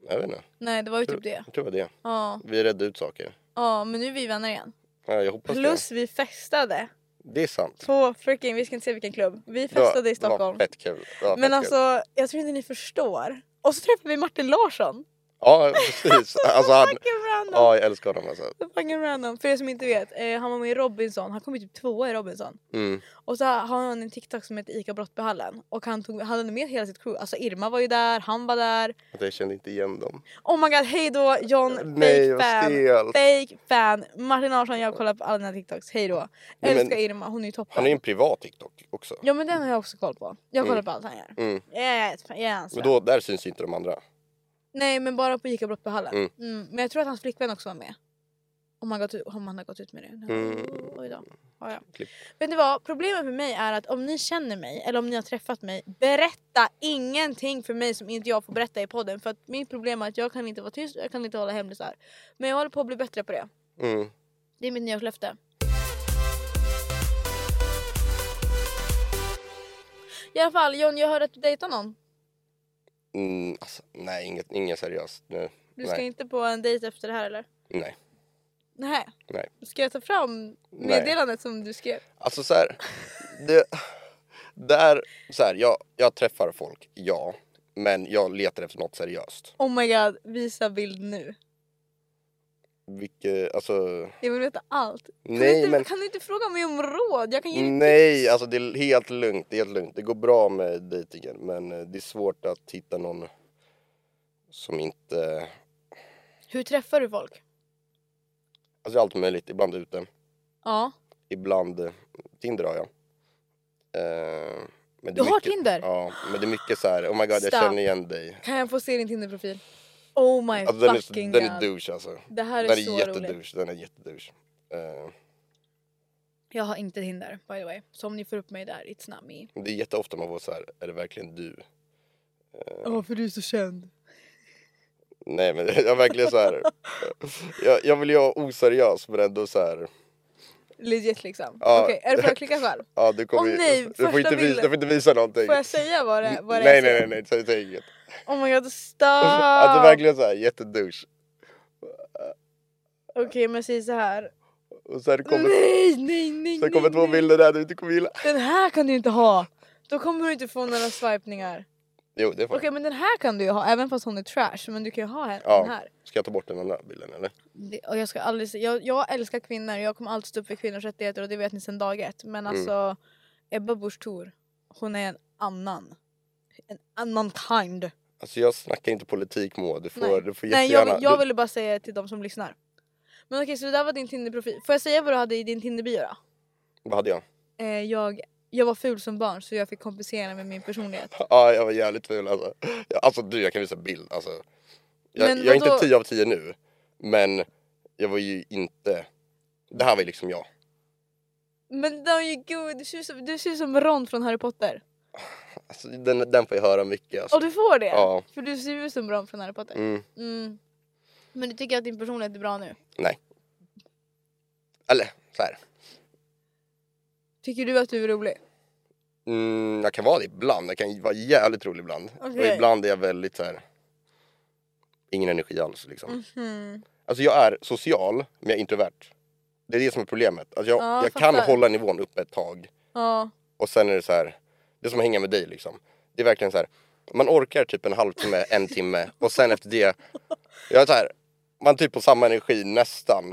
[SPEAKER 2] Jag vet inte.
[SPEAKER 1] Nej det var ju
[SPEAKER 2] Jag tror-
[SPEAKER 1] typ det.
[SPEAKER 2] Jag tror det var det.
[SPEAKER 1] Ja,
[SPEAKER 2] Vi redde ut saker.
[SPEAKER 1] ja men nu är vi vänner igen.
[SPEAKER 2] Ja, jag hoppas
[SPEAKER 1] Plus vi festade
[SPEAKER 2] det. Det är sant.
[SPEAKER 1] på freaking, vi ska inte säga vilken klubb. Vi
[SPEAKER 2] Det var-
[SPEAKER 1] festade i Stockholm.
[SPEAKER 2] Det var fett kul. Det var fett
[SPEAKER 1] Men alltså jag tror inte ni förstår. Och så träffade vi Martin Larsson.
[SPEAKER 2] Kul. Ja, precis. alltså han...
[SPEAKER 1] Fucking random!
[SPEAKER 2] Ja, jag älskar honom alltså.
[SPEAKER 1] Så Fucking random. För er som inte vet, eh, han var med i Robinson, han kom ju typ tvåa i Robinson.
[SPEAKER 2] Mm. och
[SPEAKER 1] Och så har han en TikTok som heter Ica Brottbyhallen. Och han, tog, han hade med hela sitt crew, alltså Irma var ju där, han var där.
[SPEAKER 2] Jag kände inte igen dem.
[SPEAKER 1] Oh my god, hej då John,
[SPEAKER 2] Nej,
[SPEAKER 1] fake
[SPEAKER 2] vad
[SPEAKER 1] fan!
[SPEAKER 2] stelt.
[SPEAKER 1] Fake fan! Martin Larsson, jag kollar på alla dina TikToks, hej då.
[SPEAKER 2] Nej, men-
[SPEAKER 1] Älskar Irma, hon är ju toppen.
[SPEAKER 2] Han är ju en privat TikTok också.
[SPEAKER 1] Ja men den har jag också koll på. Jag kollar på allt han gör.
[SPEAKER 2] Mm.
[SPEAKER 1] Jag är ett- jag är hans
[SPEAKER 2] Men
[SPEAKER 1] vän.
[SPEAKER 2] då, där syns ju inte de andra.
[SPEAKER 1] Nej men bara på Ica Brottbyhallen.
[SPEAKER 2] Mm.
[SPEAKER 1] Mm. Men jag tror att hans flickvän också var med. Om han, gått ut, om han har gått ut med det.
[SPEAKER 2] Mm.
[SPEAKER 1] Oj då. Ja, ja.
[SPEAKER 2] Klipp.
[SPEAKER 1] Vet ni vad? Problemet för mig är att om ni känner mig eller om ni har träffat mig. Berätta ingenting för mig som inte jag får berätta i podden. För att mitt problem är att jag kan inte vara tyst och jag kan inte hålla hemlisar. Men jag håller på att bli bättre på det.
[SPEAKER 2] Mm.
[SPEAKER 1] Det är mitt nyårslöfte. I alla fall John, jag hörde att du dejtar någon.
[SPEAKER 2] Mm, alltså, nej, inget, inget seriöst nu.
[SPEAKER 1] Du ska
[SPEAKER 2] Nej.
[SPEAKER 1] inte på en dejt efter det här eller?
[SPEAKER 2] Nej.
[SPEAKER 1] Nej.
[SPEAKER 2] Nej.
[SPEAKER 1] Ska jag ta fram meddelandet som du skrev?
[SPEAKER 2] Alltså så här, det, där, så här, jag, jag träffar folk, ja. Men jag letar efter något seriöst.
[SPEAKER 1] Oh my god, visa bild nu.
[SPEAKER 2] Vilket, alltså,
[SPEAKER 1] Jag vill veta allt. Kan,
[SPEAKER 2] Nej,
[SPEAKER 1] du, inte,
[SPEAKER 2] men-
[SPEAKER 1] kan du inte fråga mig om råd? Jag kan ge dig
[SPEAKER 2] nej, alltså det är helt lugnt, det är helt lugnt. Det går bra med dejtingen, men eh, det är svårt att hitta någon som inte,
[SPEAKER 1] Hur träffar du folk?
[SPEAKER 2] alltså allt möjligt, ibland ute.
[SPEAKER 1] Ja.
[SPEAKER 2] ibland eh, Tinder har jag. Eh, men
[SPEAKER 1] Du
[SPEAKER 2] är
[SPEAKER 1] har Tinder?
[SPEAKER 2] Ja, men det är mycket så här. oh my god
[SPEAKER 1] Stop.
[SPEAKER 2] jag känner igen dig.
[SPEAKER 1] Kan jag få se din Tinder-profil? Oh my
[SPEAKER 2] Alltså, den,
[SPEAKER 1] fucking
[SPEAKER 2] är, den är
[SPEAKER 1] god.
[SPEAKER 2] douche alltså.
[SPEAKER 1] Det här
[SPEAKER 2] Den
[SPEAKER 1] är,
[SPEAKER 2] är
[SPEAKER 1] så roligt.
[SPEAKER 2] jättedouche, den är jättedouche. Eh,
[SPEAKER 1] Jag har inte Tinder by the way. Så om ni får upp mig där, it's not me.
[SPEAKER 2] det är jätteofta man får så här. är det verkligen du?
[SPEAKER 1] Ja, för du är så känd.
[SPEAKER 2] Nej men jag är verkligen så här. jag, jag vill ju vara oseriös men ändå så här.
[SPEAKER 1] Legit liksom.
[SPEAKER 2] Ja.
[SPEAKER 1] Okej, är det för att klicka själv?
[SPEAKER 2] Ja, du, kommer,
[SPEAKER 1] Åh,
[SPEAKER 2] ju-
[SPEAKER 1] nej,
[SPEAKER 2] du,
[SPEAKER 1] första
[SPEAKER 2] får inte
[SPEAKER 1] bilden.
[SPEAKER 2] visa, du får inte visa någonting.
[SPEAKER 1] Får jag säga vad det, vad det
[SPEAKER 2] nej,
[SPEAKER 1] är?
[SPEAKER 2] nej nej nej, säg- säg inget.
[SPEAKER 1] Oh my god,
[SPEAKER 2] Alltså
[SPEAKER 1] stopp!
[SPEAKER 2] verkligen så här jättedouche.
[SPEAKER 1] Okej, men säg så här.
[SPEAKER 2] Och sen kommer,
[SPEAKER 1] Nej, nej, nej,
[SPEAKER 2] sen kommer
[SPEAKER 1] nej,
[SPEAKER 2] två
[SPEAKER 1] nej.
[SPEAKER 2] bilder där du inte kommer gilla.
[SPEAKER 1] Den här kan du inte ha! Då kommer du inte få några swipningar.
[SPEAKER 2] Jo det får
[SPEAKER 1] Okej men den här kan du ju ha även fast hon är trash. Men du kan ju ha henne,
[SPEAKER 2] Ja.
[SPEAKER 1] den här.
[SPEAKER 2] Ska jag ta bort den andra bilden eller?
[SPEAKER 1] Det, och jag, ska aldrig, se- jag, jag älskar kvinnor. Jag kommer alltid stå upp för kvinnors rättigheter och det vet ni sedan dag ett. Men
[SPEAKER 2] Mm.
[SPEAKER 1] alltså Ebba Busch Thor, hon är en annan. En annan kind.
[SPEAKER 2] Alltså jag snackar inte politik Moa, du får,
[SPEAKER 1] Nej.
[SPEAKER 2] du får
[SPEAKER 1] Nej jag,
[SPEAKER 2] jättegärna...
[SPEAKER 1] vill- jag ville bara säga till de som lyssnar. Men okej så det där var din Tinder-profil. Får jag säga vad du hade i din Tinder-bio då?
[SPEAKER 2] du, vad hade jag?
[SPEAKER 1] Eh, jag, jag var ful som barn så jag fick kompensera med min personlighet.
[SPEAKER 2] Ja jag var jävligt ful alltså. Ja, alltså du jag kan visa bild alltså. Jag,
[SPEAKER 1] Men
[SPEAKER 2] jag är inte
[SPEAKER 1] vadå?
[SPEAKER 2] 10 av 10 nu. Men jag var ju inte... Det här var ju liksom jag.
[SPEAKER 1] Men den är ju god, du ser ut som- du ser ut som Ron från Harry Potter.
[SPEAKER 2] Alltså, den, den får jag höra mycket alltså.
[SPEAKER 1] Och du får det?
[SPEAKER 2] Ja.
[SPEAKER 1] För du ser ut som Ron från Harry Potter.
[SPEAKER 2] Mm.
[SPEAKER 1] Mm. Men du tycker att din personlighet är bra nu?
[SPEAKER 2] Nej. Eller så här.
[SPEAKER 1] Tycker du att du är rolig?
[SPEAKER 2] Mm, jag kan vara det ibland, jag kan vara jävligt rolig ibland. Och
[SPEAKER 1] Okej.
[SPEAKER 2] ibland är jag väldigt så här. Ingen energi alls liksom.
[SPEAKER 1] Mhm.
[SPEAKER 2] Alltså jag är social, men jag är introvert. Det är det som är problemet. Alltså jag,
[SPEAKER 1] Ja,
[SPEAKER 2] jag kan
[SPEAKER 1] fattar.
[SPEAKER 2] hålla nivån uppe ett tag.
[SPEAKER 1] Ja.
[SPEAKER 2] Och sen är det så här, det är som att hänga med dig liksom. Det är verkligen så här, man orkar typ en halvtimme, en timme och sen efter det, jag är så här, man är typ på samma energi nästan.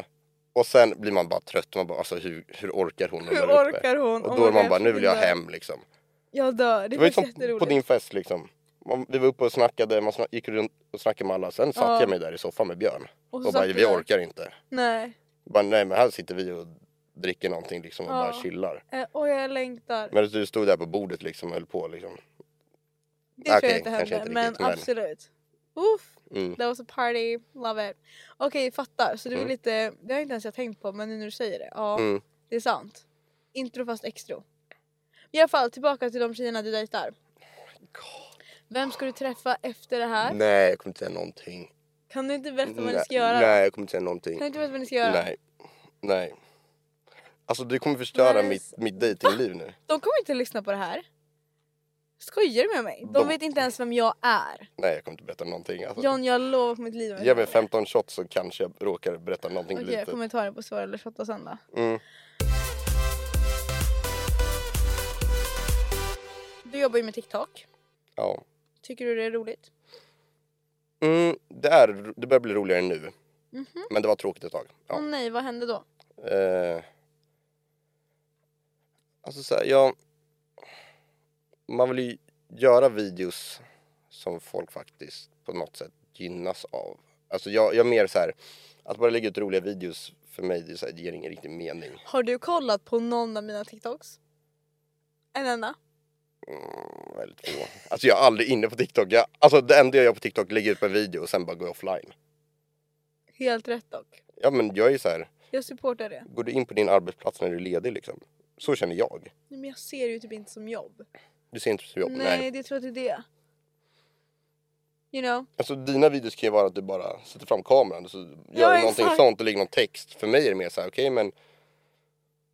[SPEAKER 2] Och sen blir man bara trött och man bara alltså hur, hur orkar hon? när
[SPEAKER 1] Hur
[SPEAKER 2] man är uppe?
[SPEAKER 1] orkar hon?
[SPEAKER 2] Och
[SPEAKER 1] Oh
[SPEAKER 2] då
[SPEAKER 1] my
[SPEAKER 2] är man
[SPEAKER 1] God,
[SPEAKER 2] bara nu vill jag
[SPEAKER 1] jag dör.
[SPEAKER 2] hem liksom.
[SPEAKER 1] Jag dör, det,
[SPEAKER 2] Det
[SPEAKER 1] var
[SPEAKER 2] var ju
[SPEAKER 1] jätteroligt.
[SPEAKER 2] som på din fest liksom. Man, vi var uppe och snackade, man sna- gick runt och snackade med alla. Sen satt
[SPEAKER 1] Ja.
[SPEAKER 2] jag mig där i soffan med Björn.
[SPEAKER 1] Och
[SPEAKER 2] Och,
[SPEAKER 1] så
[SPEAKER 2] bara
[SPEAKER 1] satt du
[SPEAKER 2] vi
[SPEAKER 1] där."
[SPEAKER 2] orkar inte.
[SPEAKER 1] Nej.
[SPEAKER 2] Bara, nej men här sitter vi och dricker någonting liksom och
[SPEAKER 1] Ja.
[SPEAKER 2] bara chillar.
[SPEAKER 1] Eh, Oj, jag längtar.
[SPEAKER 2] Men du stod där på bordet liksom och höll på liksom.
[SPEAKER 1] det tror
[SPEAKER 2] okej,
[SPEAKER 1] jag inte
[SPEAKER 2] kanske
[SPEAKER 1] hände,
[SPEAKER 2] inte
[SPEAKER 1] men
[SPEAKER 2] riktigt, men-
[SPEAKER 1] absolut. Uff,
[SPEAKER 2] Mm.
[SPEAKER 1] that was a party, love it. Okej, fattar. Så det var
[SPEAKER 2] Mm.
[SPEAKER 1] lite, det har jag inte ens jag tänkt på men nu när du säger det, ja.
[SPEAKER 2] Mm.
[SPEAKER 1] Det är sant. Intro fast extro. I alla fall, tillbaka till de tjejerna du dejtar. Vem ska du träffa efter det här?
[SPEAKER 2] Nej jag kommer inte säga någonting.
[SPEAKER 1] Kan du inte berätta vad ni
[SPEAKER 2] Nej,
[SPEAKER 1] ska göra?
[SPEAKER 2] nej jag kommer inte säga någonting.
[SPEAKER 1] Kan du inte berätta vad ni ska göra?
[SPEAKER 2] Nej. Nej. Alltså du kommer förstöra
[SPEAKER 1] Nej,
[SPEAKER 2] mitt, mitt dejtingliv nu.
[SPEAKER 1] De kommer inte lyssna på det här. Skojar du med mig? De
[SPEAKER 2] De-
[SPEAKER 1] vet inte ens vem jag är.
[SPEAKER 2] Nej jag kommer inte berätta någonting. Alltså.
[SPEAKER 1] John, jag lovar på mitt liv.
[SPEAKER 2] Ge mig 15 shots så kanske jag råkar berätta någonting
[SPEAKER 1] Okej, jag
[SPEAKER 2] litet.
[SPEAKER 1] kommer ta det på svara eller shotta sen då.
[SPEAKER 2] Mm.
[SPEAKER 1] Du jobbar ju med TikTok.
[SPEAKER 2] Ja.
[SPEAKER 1] Tycker du det är roligt?
[SPEAKER 2] Mm, det, är, det börjar bli roligare nu. Men det var tråkigt ett tag. Ja.
[SPEAKER 1] Åh nej, vad hände då?
[SPEAKER 2] Eh, alltså så här, jag... Man vill ju göra videos som folk faktiskt på något sätt gynnas av. Alltså jag, jag är mer så här, att bara lägga ut roliga videos för mig det, är så här, det ger ingen riktig mening.
[SPEAKER 1] Har du kollat på någon av mina TikToks? En enda?
[SPEAKER 2] Mm, väldigt få. Alltså jag är aldrig inne på TikTok. Jag, alltså det enda jag gör på TikTok är lägga ut en video och sen bara gå offline.
[SPEAKER 1] Helt rätt dock.
[SPEAKER 2] Ja men jag är ju så här,
[SPEAKER 1] Jag supportar det.
[SPEAKER 2] går du in på din arbetsplats när du är ledig liksom? Så känner jag.
[SPEAKER 1] Nej, men jag ser det ju typ inte som jobb.
[SPEAKER 2] Du ser inte så jobb.
[SPEAKER 1] nej, det tror jag inte det. You know?
[SPEAKER 2] Alltså dina videos kan ju vara att du bara sätter fram kameran och så gör
[SPEAKER 1] Ja,
[SPEAKER 2] du någonting
[SPEAKER 1] exakt.
[SPEAKER 2] sånt och lägger någon text. För mig är det mer så här, okej men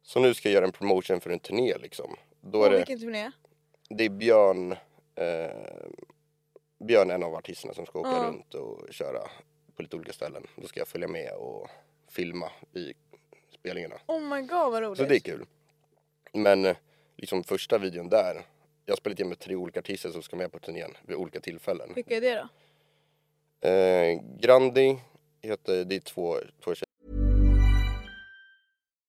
[SPEAKER 2] så nu ska jag göra en promotion för en turné liksom. Då är
[SPEAKER 1] Och
[SPEAKER 2] det,
[SPEAKER 1] vilken turné?
[SPEAKER 2] det är Björn, eh, Björn är en av artisterna som ska åka
[SPEAKER 1] Ja.
[SPEAKER 2] runt och köra på lite olika ställen. Då ska jag följa med och filma i spelningarna.
[SPEAKER 1] Oh my god vad roligt.
[SPEAKER 2] Så det är kul. Men eh, liksom första videon där, jag har spelat in med tre olika artister som ska med på turnén vid olika tillfällen.
[SPEAKER 1] Vilka är det då?
[SPEAKER 2] Eh, Grandi heter, det är två, två tjejer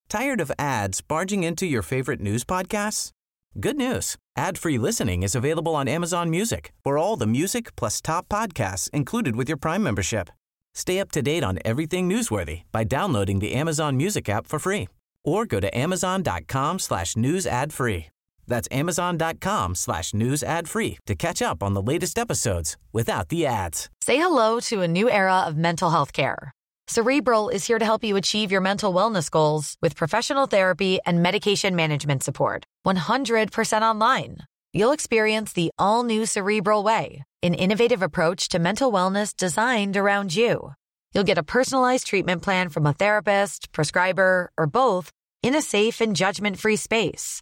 [SPEAKER 4] Tired of ads barging into your favorite news podcasts? Good news. Ad-free listening is available on Amazon Music for all the music plus top podcasts included with your Prime membership. Stay up to date on everything newsworthy by downloading the Amazon Music app for free or go to amazon.com slash news ad free. That's amazon.com slash news ad free to catch up on the latest episodes without the ads.
[SPEAKER 5] Say hello to a new era of mental health care. Cerebral is here to help you achieve your mental wellness goals with professional therapy and medication management support. 100% online. You'll experience the all new Cerebral Way, an innovative approach to mental wellness designed around you. You'll get a personalized treatment plan from a therapist, prescriber, or both in a safe and judgment free space.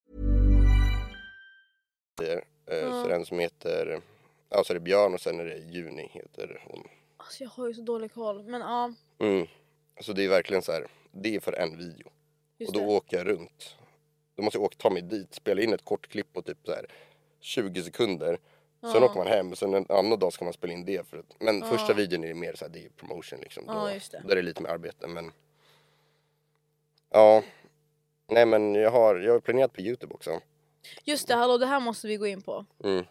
[SPEAKER 2] eh, så det är en som heter, ja så är det Björn och sen är det Juni heter hon.
[SPEAKER 1] Alltså jag har ju så dålig koll. Men ja,
[SPEAKER 2] Mm. Så det är verkligen så här, det är för en video.
[SPEAKER 1] just
[SPEAKER 2] och då
[SPEAKER 1] det.
[SPEAKER 2] åker jag runt. Då måste jag åka, ta mig dit, spela in ett kort klipp på typ så här 20 sekunder. Sen åker man hem, sen en annan dag ska man spela in det. För att, men första videon är mer så här, det är promotion liksom.
[SPEAKER 1] Ja, just det.
[SPEAKER 2] Där är det lite mer arbete men. Ja. Nej men jag har, jag har planerat på Youtube också.
[SPEAKER 1] Just det, hallå det här måste vi gå in på.
[SPEAKER 2] Mm.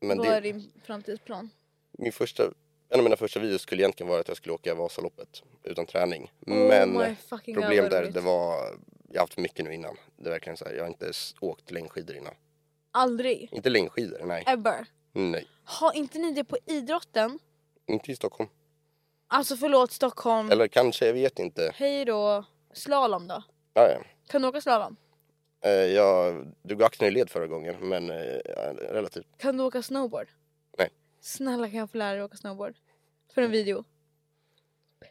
[SPEAKER 2] Men
[SPEAKER 1] Vad
[SPEAKER 2] det,
[SPEAKER 1] är din framtidsplan?
[SPEAKER 2] min första, en av mina första videor skulle egentligen vara att jag skulle åka Vasaloppet utan träning.
[SPEAKER 1] Oh
[SPEAKER 2] men
[SPEAKER 1] my fucking God,
[SPEAKER 2] problem
[SPEAKER 1] vad
[SPEAKER 2] där,
[SPEAKER 1] roligt.
[SPEAKER 2] det var, jag har haft mycket nu innan. Det är verkligen så här, jag har inte s- åkt längdskidor innan.
[SPEAKER 1] Aldrig.
[SPEAKER 2] Inte längdskidor, nej.
[SPEAKER 1] Ever.
[SPEAKER 2] Nej.
[SPEAKER 1] Har inte ni det på idrotten?
[SPEAKER 2] Inte i Stockholm.
[SPEAKER 1] Alltså förlåt Stockholm.
[SPEAKER 2] Eller kanske, jag vet inte.
[SPEAKER 1] Hej då. Slalom då?
[SPEAKER 2] Ja, ja.
[SPEAKER 1] Kan du åka slalom?
[SPEAKER 2] Eh, jag drog axeln i led förra gången, men eh, ja, relativt.
[SPEAKER 1] Kan du åka snowboard?
[SPEAKER 2] Nej.
[SPEAKER 1] Snälla kan jag få lära dig åka snowboard? För en video.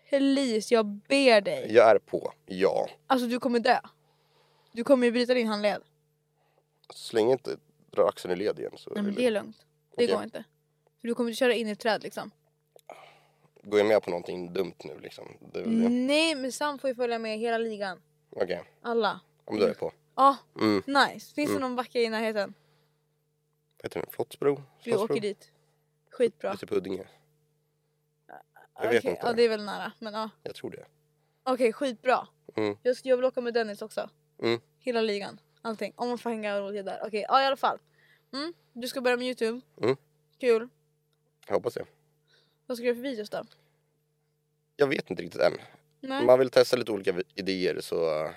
[SPEAKER 1] Please, jag ber dig.
[SPEAKER 2] Jag är på, ja.
[SPEAKER 1] Alltså du kommer dö. Du kommer ju bryta din handled.
[SPEAKER 2] Så länge jag inte drar axeln i led igen så
[SPEAKER 1] Nej men
[SPEAKER 2] är
[SPEAKER 1] det är lugnt. Det
[SPEAKER 2] Okej.
[SPEAKER 1] går inte. För du kommer köra in i ett träd liksom.
[SPEAKER 2] går jag med på någonting dumt nu liksom. Det är väl det.
[SPEAKER 1] Nej men Sam får ju följa med hela ligan.
[SPEAKER 2] Okej,
[SPEAKER 1] Alla.
[SPEAKER 2] ja, men då är jag på.
[SPEAKER 1] Ja,
[SPEAKER 2] Mm.
[SPEAKER 1] nice. Finns det någon backe i närheten?
[SPEAKER 2] Heter den Flottsbro?
[SPEAKER 1] Vi åker dit. Skitbra.
[SPEAKER 2] Lite Huddinge. typ- Jag vet
[SPEAKER 1] Okej,
[SPEAKER 2] inte.
[SPEAKER 1] Ja det är väl nära. Men ja.
[SPEAKER 2] Jag tror det.
[SPEAKER 1] Okej skitbra.
[SPEAKER 2] Mm.
[SPEAKER 1] Jag, ska, jag vill åka med Dennis också.
[SPEAKER 2] Mm.
[SPEAKER 1] Hela ligan. Allting. Om man får hänga och roligt där. Okej ja i alla fall. Mm. Du ska börja med youtube.
[SPEAKER 2] Mm.
[SPEAKER 1] Kul.
[SPEAKER 2] Jag hoppas det.
[SPEAKER 1] Vad ska du göra för videos då?
[SPEAKER 2] Jag vet inte riktigt än.
[SPEAKER 1] Nej.
[SPEAKER 2] Om man vill testa lite olika vi- idéer så... eh,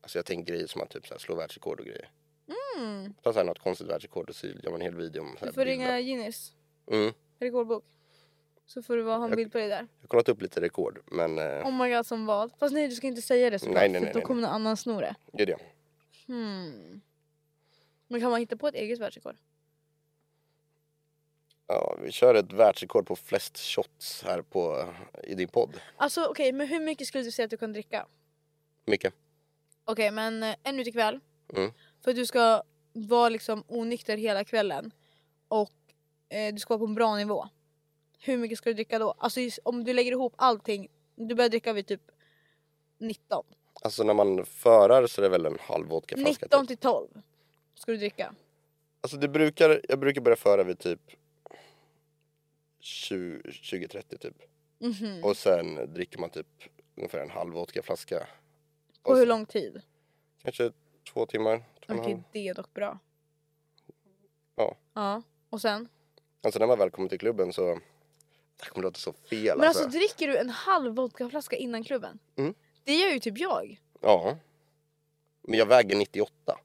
[SPEAKER 2] Alltså jag tänker grejer som att typ så här slå världsrekord och grejer.
[SPEAKER 1] Mm.
[SPEAKER 2] Ta så här något konstigt världsrekord och så gör man en hel video om så här
[SPEAKER 1] Du får
[SPEAKER 2] bilder.
[SPEAKER 1] ringa Guinness
[SPEAKER 2] Mm.
[SPEAKER 1] rekordbok. Så får du bara ha en bild på dig där.
[SPEAKER 2] Jag har kollat upp lite rekord men eh,
[SPEAKER 1] Oh my god som vad? Fast nej du ska inte säga det såklart.
[SPEAKER 2] Nej, nej,
[SPEAKER 1] för
[SPEAKER 2] nej,
[SPEAKER 1] då
[SPEAKER 2] nej,
[SPEAKER 1] kommer någon annan sno det.
[SPEAKER 2] det är det.
[SPEAKER 1] Hmm. Men kan man hitta på ett eget världsrekord?
[SPEAKER 2] Ja, vi kör ett världsrekord på flest shots här på, i din podd.
[SPEAKER 1] Alltså okej men hur mycket skulle du säga att du kan dricka?
[SPEAKER 2] Mycket.
[SPEAKER 1] Okej men eh, en ut ikväll.
[SPEAKER 2] Mm.
[SPEAKER 1] För att du ska vara liksom onykter hela kvällen. Och eh, du ska vara på en bra nivå. Hur mycket ska du dricka då? Alltså just- om du lägger ihop allting. Du börjar dricka vid typ 19.
[SPEAKER 2] Alltså när man förar så är det väl en halv vodkaflaska. typ.
[SPEAKER 1] 19 till 12 ska du dricka.
[SPEAKER 2] Alltså det brukar, jag brukar börja föra vid typ 20-30 typ.
[SPEAKER 1] Mhm.
[SPEAKER 2] Och sen dricker man typ ungefär en halv vodkaflaska.
[SPEAKER 1] På hur lång tid?
[SPEAKER 2] Kanske två timmar, två och en
[SPEAKER 1] Okej
[SPEAKER 2] halv.
[SPEAKER 1] det är dock bra.
[SPEAKER 2] Ja.
[SPEAKER 1] Ja. Och sen?
[SPEAKER 2] Alltså när man väl kommer till klubben så... Det här kommer låta så fel
[SPEAKER 1] Men
[SPEAKER 2] alltså.
[SPEAKER 1] alltså dricker du en halv vodkaflaska innan klubben?
[SPEAKER 2] Mm.
[SPEAKER 1] Det gör ju typ jag.
[SPEAKER 2] Ja. Men jag väger 98.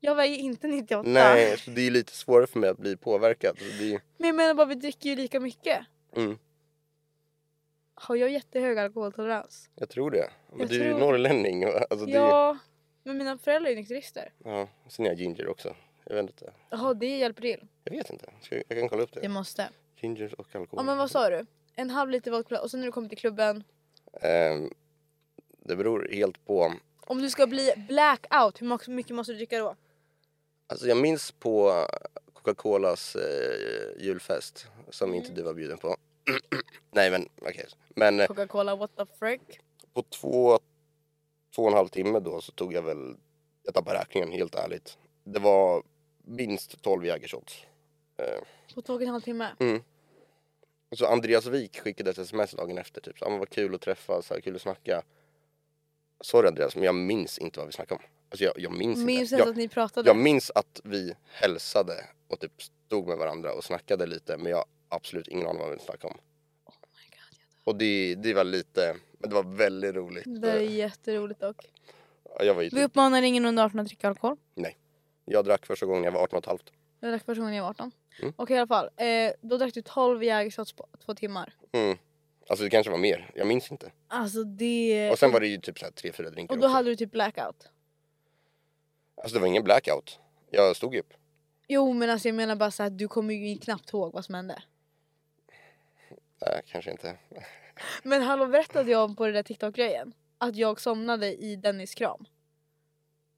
[SPEAKER 1] Jag väger inte 98.
[SPEAKER 2] Nej, så det är lite svårare för mig att bli påverkad. Så det är...
[SPEAKER 1] Men jag menar bara vi dricker ju lika mycket.
[SPEAKER 2] mm,
[SPEAKER 1] Har jag jättehög alkoholtolerans?
[SPEAKER 2] jag tror det. Men
[SPEAKER 1] Jag
[SPEAKER 2] du är ju
[SPEAKER 1] tror-
[SPEAKER 2] norrlänning. och- Alltså, det... ja.
[SPEAKER 1] Ja, men mina föräldrar är ju nykterister.
[SPEAKER 2] ja. Sen är jag ginger också. Jag vet inte.
[SPEAKER 1] Jaha, det hjälper till.
[SPEAKER 2] Jag vet inte. Ska, jag kan kolla upp det.
[SPEAKER 1] Det måste.
[SPEAKER 2] Gingers och alkohol.
[SPEAKER 1] Ja men vad sa du? En halv liter vodka och sen när du kommer till klubben.
[SPEAKER 2] Ehm, det beror helt på.
[SPEAKER 1] Om du ska bli blackout, hur mo- mycket måste du dricka då?
[SPEAKER 2] Alltså jag minns på Coca-Colas eh, julfest som inte
[SPEAKER 1] Mm.
[SPEAKER 2] du var bjuden på. Nej men okej. Men eh,
[SPEAKER 1] Coca-Cola, what the frick?
[SPEAKER 2] på två, två och en halv timme då så tog jag väl, jag tappade räkningen helt ärligt. Det var minst 12 jägershots.
[SPEAKER 1] På två och en halv timme.
[SPEAKER 2] Mm, Och Så Andreas Wik skickade ett sms dagen efter typ, så, ah, men vad kul att träffas, så här, kul att snacka. Sorry Andreas men jag minns inte vad vi snackade om. Alltså jag, jag
[SPEAKER 1] Minns
[SPEAKER 2] minns, inte.
[SPEAKER 1] ens
[SPEAKER 2] Jag,
[SPEAKER 1] att ni pratade.
[SPEAKER 2] jag minns att vi hälsade och typ stod med varandra och snackade lite men jag har absolut ingen aning vad vi snackade om.
[SPEAKER 1] Oh
[SPEAKER 2] Och det, det var lite, men det var väldigt roligt.
[SPEAKER 1] Det är jätteroligt dock.
[SPEAKER 2] Ja, Jag var ju
[SPEAKER 1] Vi
[SPEAKER 2] typ,
[SPEAKER 1] uppmanar ingen under 18 att dricka alkohol.
[SPEAKER 2] jag drack första gången jag var 18 och ett halvt.
[SPEAKER 1] Jag drack personligen när jag var 18.
[SPEAKER 2] Mm.
[SPEAKER 1] Okej i alla fall. Eh, då drack du 12 jägershots på två timmar.
[SPEAKER 2] Mm. Alltså det kanske var mer, jag minns inte.
[SPEAKER 1] Alltså det...
[SPEAKER 2] Och sen var det ju typ så här tre, fyra drinkar
[SPEAKER 1] Och då
[SPEAKER 2] också.
[SPEAKER 1] hade du typ blackout.
[SPEAKER 2] Alltså det var ingen blackout. Jag stod ju upp.
[SPEAKER 1] Jo men alltså jag menar bara så att du kommer ju knappt ihåg vad som hände.
[SPEAKER 2] Nej, kanske inte.
[SPEAKER 1] Men hallå berättade jag om på den där TikTok-grejen? Att jag somnade i Dennis kram.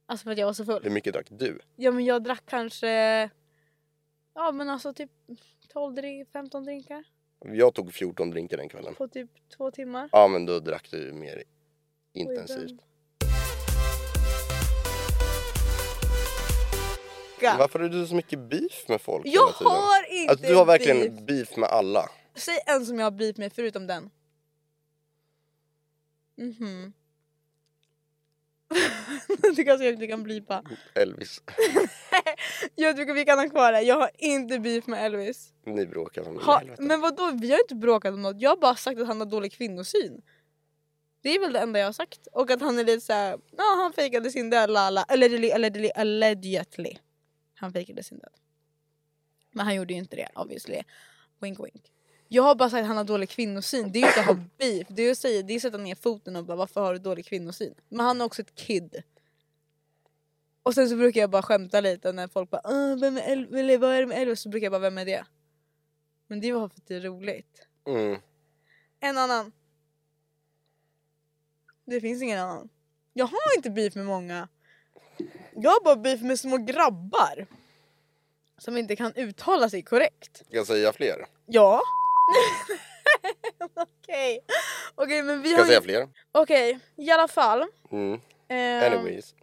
[SPEAKER 1] Alltså för att jag var så full.
[SPEAKER 2] Hur mycket drack du?
[SPEAKER 1] Ja men jag drack kanske... Ja men alltså typ 12 drink, 15 drinkar
[SPEAKER 2] Jag tog 14 drinkar den kvällen.
[SPEAKER 1] på typ två timmar.
[SPEAKER 2] Ja, men då drack du mer intensivt.
[SPEAKER 1] Ga.
[SPEAKER 2] Varför har du så mycket beef med folk
[SPEAKER 1] Jag
[SPEAKER 2] hela tiden?
[SPEAKER 1] har inte
[SPEAKER 2] Alltså, du har verkligen
[SPEAKER 1] beef.
[SPEAKER 2] beef, med alla.
[SPEAKER 1] Säg en som jag har blivit med förutom den. Mhm. du kanske jag inte kan blipa.
[SPEAKER 2] Elvis,
[SPEAKER 1] Jag tycker vi kan ha kvar det. Jag har inte beef med Elvis.
[SPEAKER 2] ni bråkar som
[SPEAKER 1] Ha,
[SPEAKER 2] helvete.
[SPEAKER 1] men vadå, vi har inte bråkat om något. Jag har bara sagt att han har dålig kvinnosyn. Det är väl det enda jag har sagt. Och att han är lite såhär, ja han fejkade sin död lala. Allegedly, allegedly, allegedly. Han fejkade sin död. Men han gjorde ju inte det obviously. Wink wink. Jag har bara sagt att han har dålig kvinnosyn. Det är ju inte att ha beef. Det är ju att säga, det är att sätta ner foten och bara varför har du dålig kvinnosyn? Men han är också ett kid. Och sen så brukar jag bara skämta lite när folk bara "Åh, vem är El- eller vad är det med Elvis? Så brukar jag bara vem är det? Men det var för att det är roligt.
[SPEAKER 2] Mm.
[SPEAKER 1] En annan. Det finns ingen annan. Jag har inte beef med många. Jag har bara beef med små grabbar. Som inte kan uttala sig korrekt.
[SPEAKER 2] Ska jag säga fler? Ska
[SPEAKER 1] Ja. Okej. Okej men vi har
[SPEAKER 2] jag säga
[SPEAKER 1] ju...
[SPEAKER 2] fler?
[SPEAKER 1] Okej, i alla fall.
[SPEAKER 2] Mm.
[SPEAKER 1] Ehm,
[SPEAKER 2] Anyways.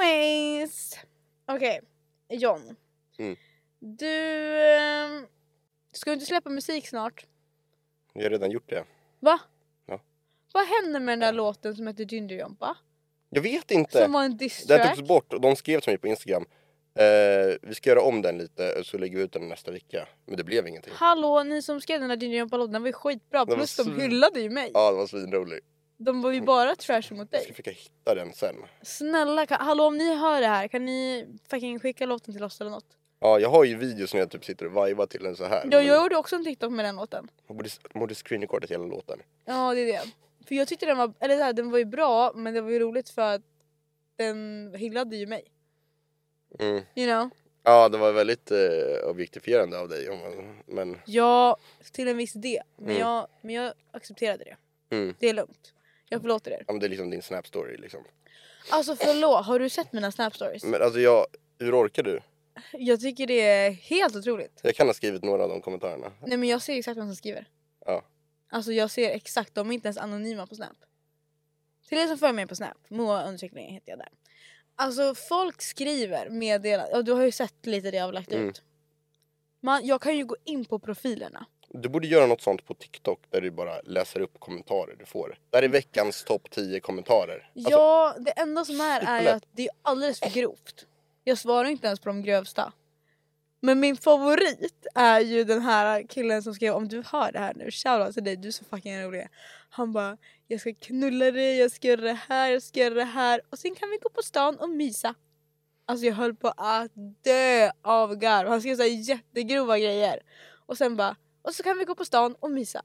[SPEAKER 1] Anyways. Okej, John.
[SPEAKER 2] Mm.
[SPEAKER 1] Du... ehm, Ska du inte släppa musik snart?
[SPEAKER 2] Jag har redan gjort det.
[SPEAKER 1] Va?
[SPEAKER 2] Ja.
[SPEAKER 1] Vad hände med den där låten som heter Gingerjompa?
[SPEAKER 2] Jag vet inte.
[SPEAKER 1] Som var en
[SPEAKER 2] Den
[SPEAKER 1] diss-track?
[SPEAKER 2] togs bort och de skrev till mig på Instagram. Eh, vi ska göra om den lite och så lägger vi ut den nästa vecka. Men det blev ingenting.
[SPEAKER 1] Hallå ni som skrev den där Gingerjompa-låten, den var ju skitbra.
[SPEAKER 2] Den var
[SPEAKER 1] Plus de
[SPEAKER 2] svin-
[SPEAKER 1] hyllade ju mig.
[SPEAKER 2] Ja, det var svinroligt.
[SPEAKER 1] De var ju bara trash mot
[SPEAKER 2] Jag
[SPEAKER 1] dig.
[SPEAKER 2] ska försöka hitta den sen.
[SPEAKER 1] Snälla, kan... hallå om ni hör det här, kan ni fucking skicka låten till oss eller något?
[SPEAKER 2] Ja, jag har ju videos när jag typ sitter och vibar till den så här.
[SPEAKER 1] Jag, jag gjorde också en TikTok med den låten.
[SPEAKER 2] Man borde, man borde screenrecordat hela låten.
[SPEAKER 1] Ja det är det. För jag tyckte den var, eller så här, den var ju bra men det var ju roligt för att den hyllade ju mig.
[SPEAKER 2] Mm.
[SPEAKER 1] You know?
[SPEAKER 2] Ja, det var väldigt eh, objektifierande av dig. om man- Men
[SPEAKER 1] Ja, till en viss del. Men,
[SPEAKER 2] Mm.
[SPEAKER 1] jag, men jag accepterade det.
[SPEAKER 2] Mm.
[SPEAKER 1] Det är lugnt. Jag förlåter er.
[SPEAKER 2] ja, men det är liksom din Snap-story liksom.
[SPEAKER 1] Alltså förlåt, har du sett mina snap stories?
[SPEAKER 2] Men alltså jag, hur orkar du?
[SPEAKER 1] Jag tycker det är helt otroligt.
[SPEAKER 2] Jag kan ha skrivit några av de kommentarerna.
[SPEAKER 1] Nej men jag ser exakt vem som skriver.
[SPEAKER 2] Ja.
[SPEAKER 1] Alltså jag ser exakt, de är inte ens anonyma på Snap. Till er som följer mig på Snap, Moa undersökning heter jag där. Alltså folk skriver meddelanden, och du har ju sett lite det jag har lagt
[SPEAKER 2] Mm.
[SPEAKER 1] ut. Man, jag kan ju gå in på profilerna.
[SPEAKER 2] Du borde göra något sånt på TikTok där du bara läser upp kommentarer du får. Där är veckans topp 10 kommentarer. Alltså,
[SPEAKER 1] ja, det enda som är är ju
[SPEAKER 2] superlätt.
[SPEAKER 1] att det är alldeles för grovt. Jag svarar inte ens på de grövsta. Men min favorit är ju den här killen som skrev om du hör det här nu, shoutout till dig, du är så fucking rolig. Han bara jag ska knulla dig, jag ska göra det här, jag ska göra det här och sen kan vi gå på stan och mysa. Alltså jag höll på att dö av garv. Han skrev så här jättegrova grejer. Och sen bara, och så kan vi gå på stan och mysa.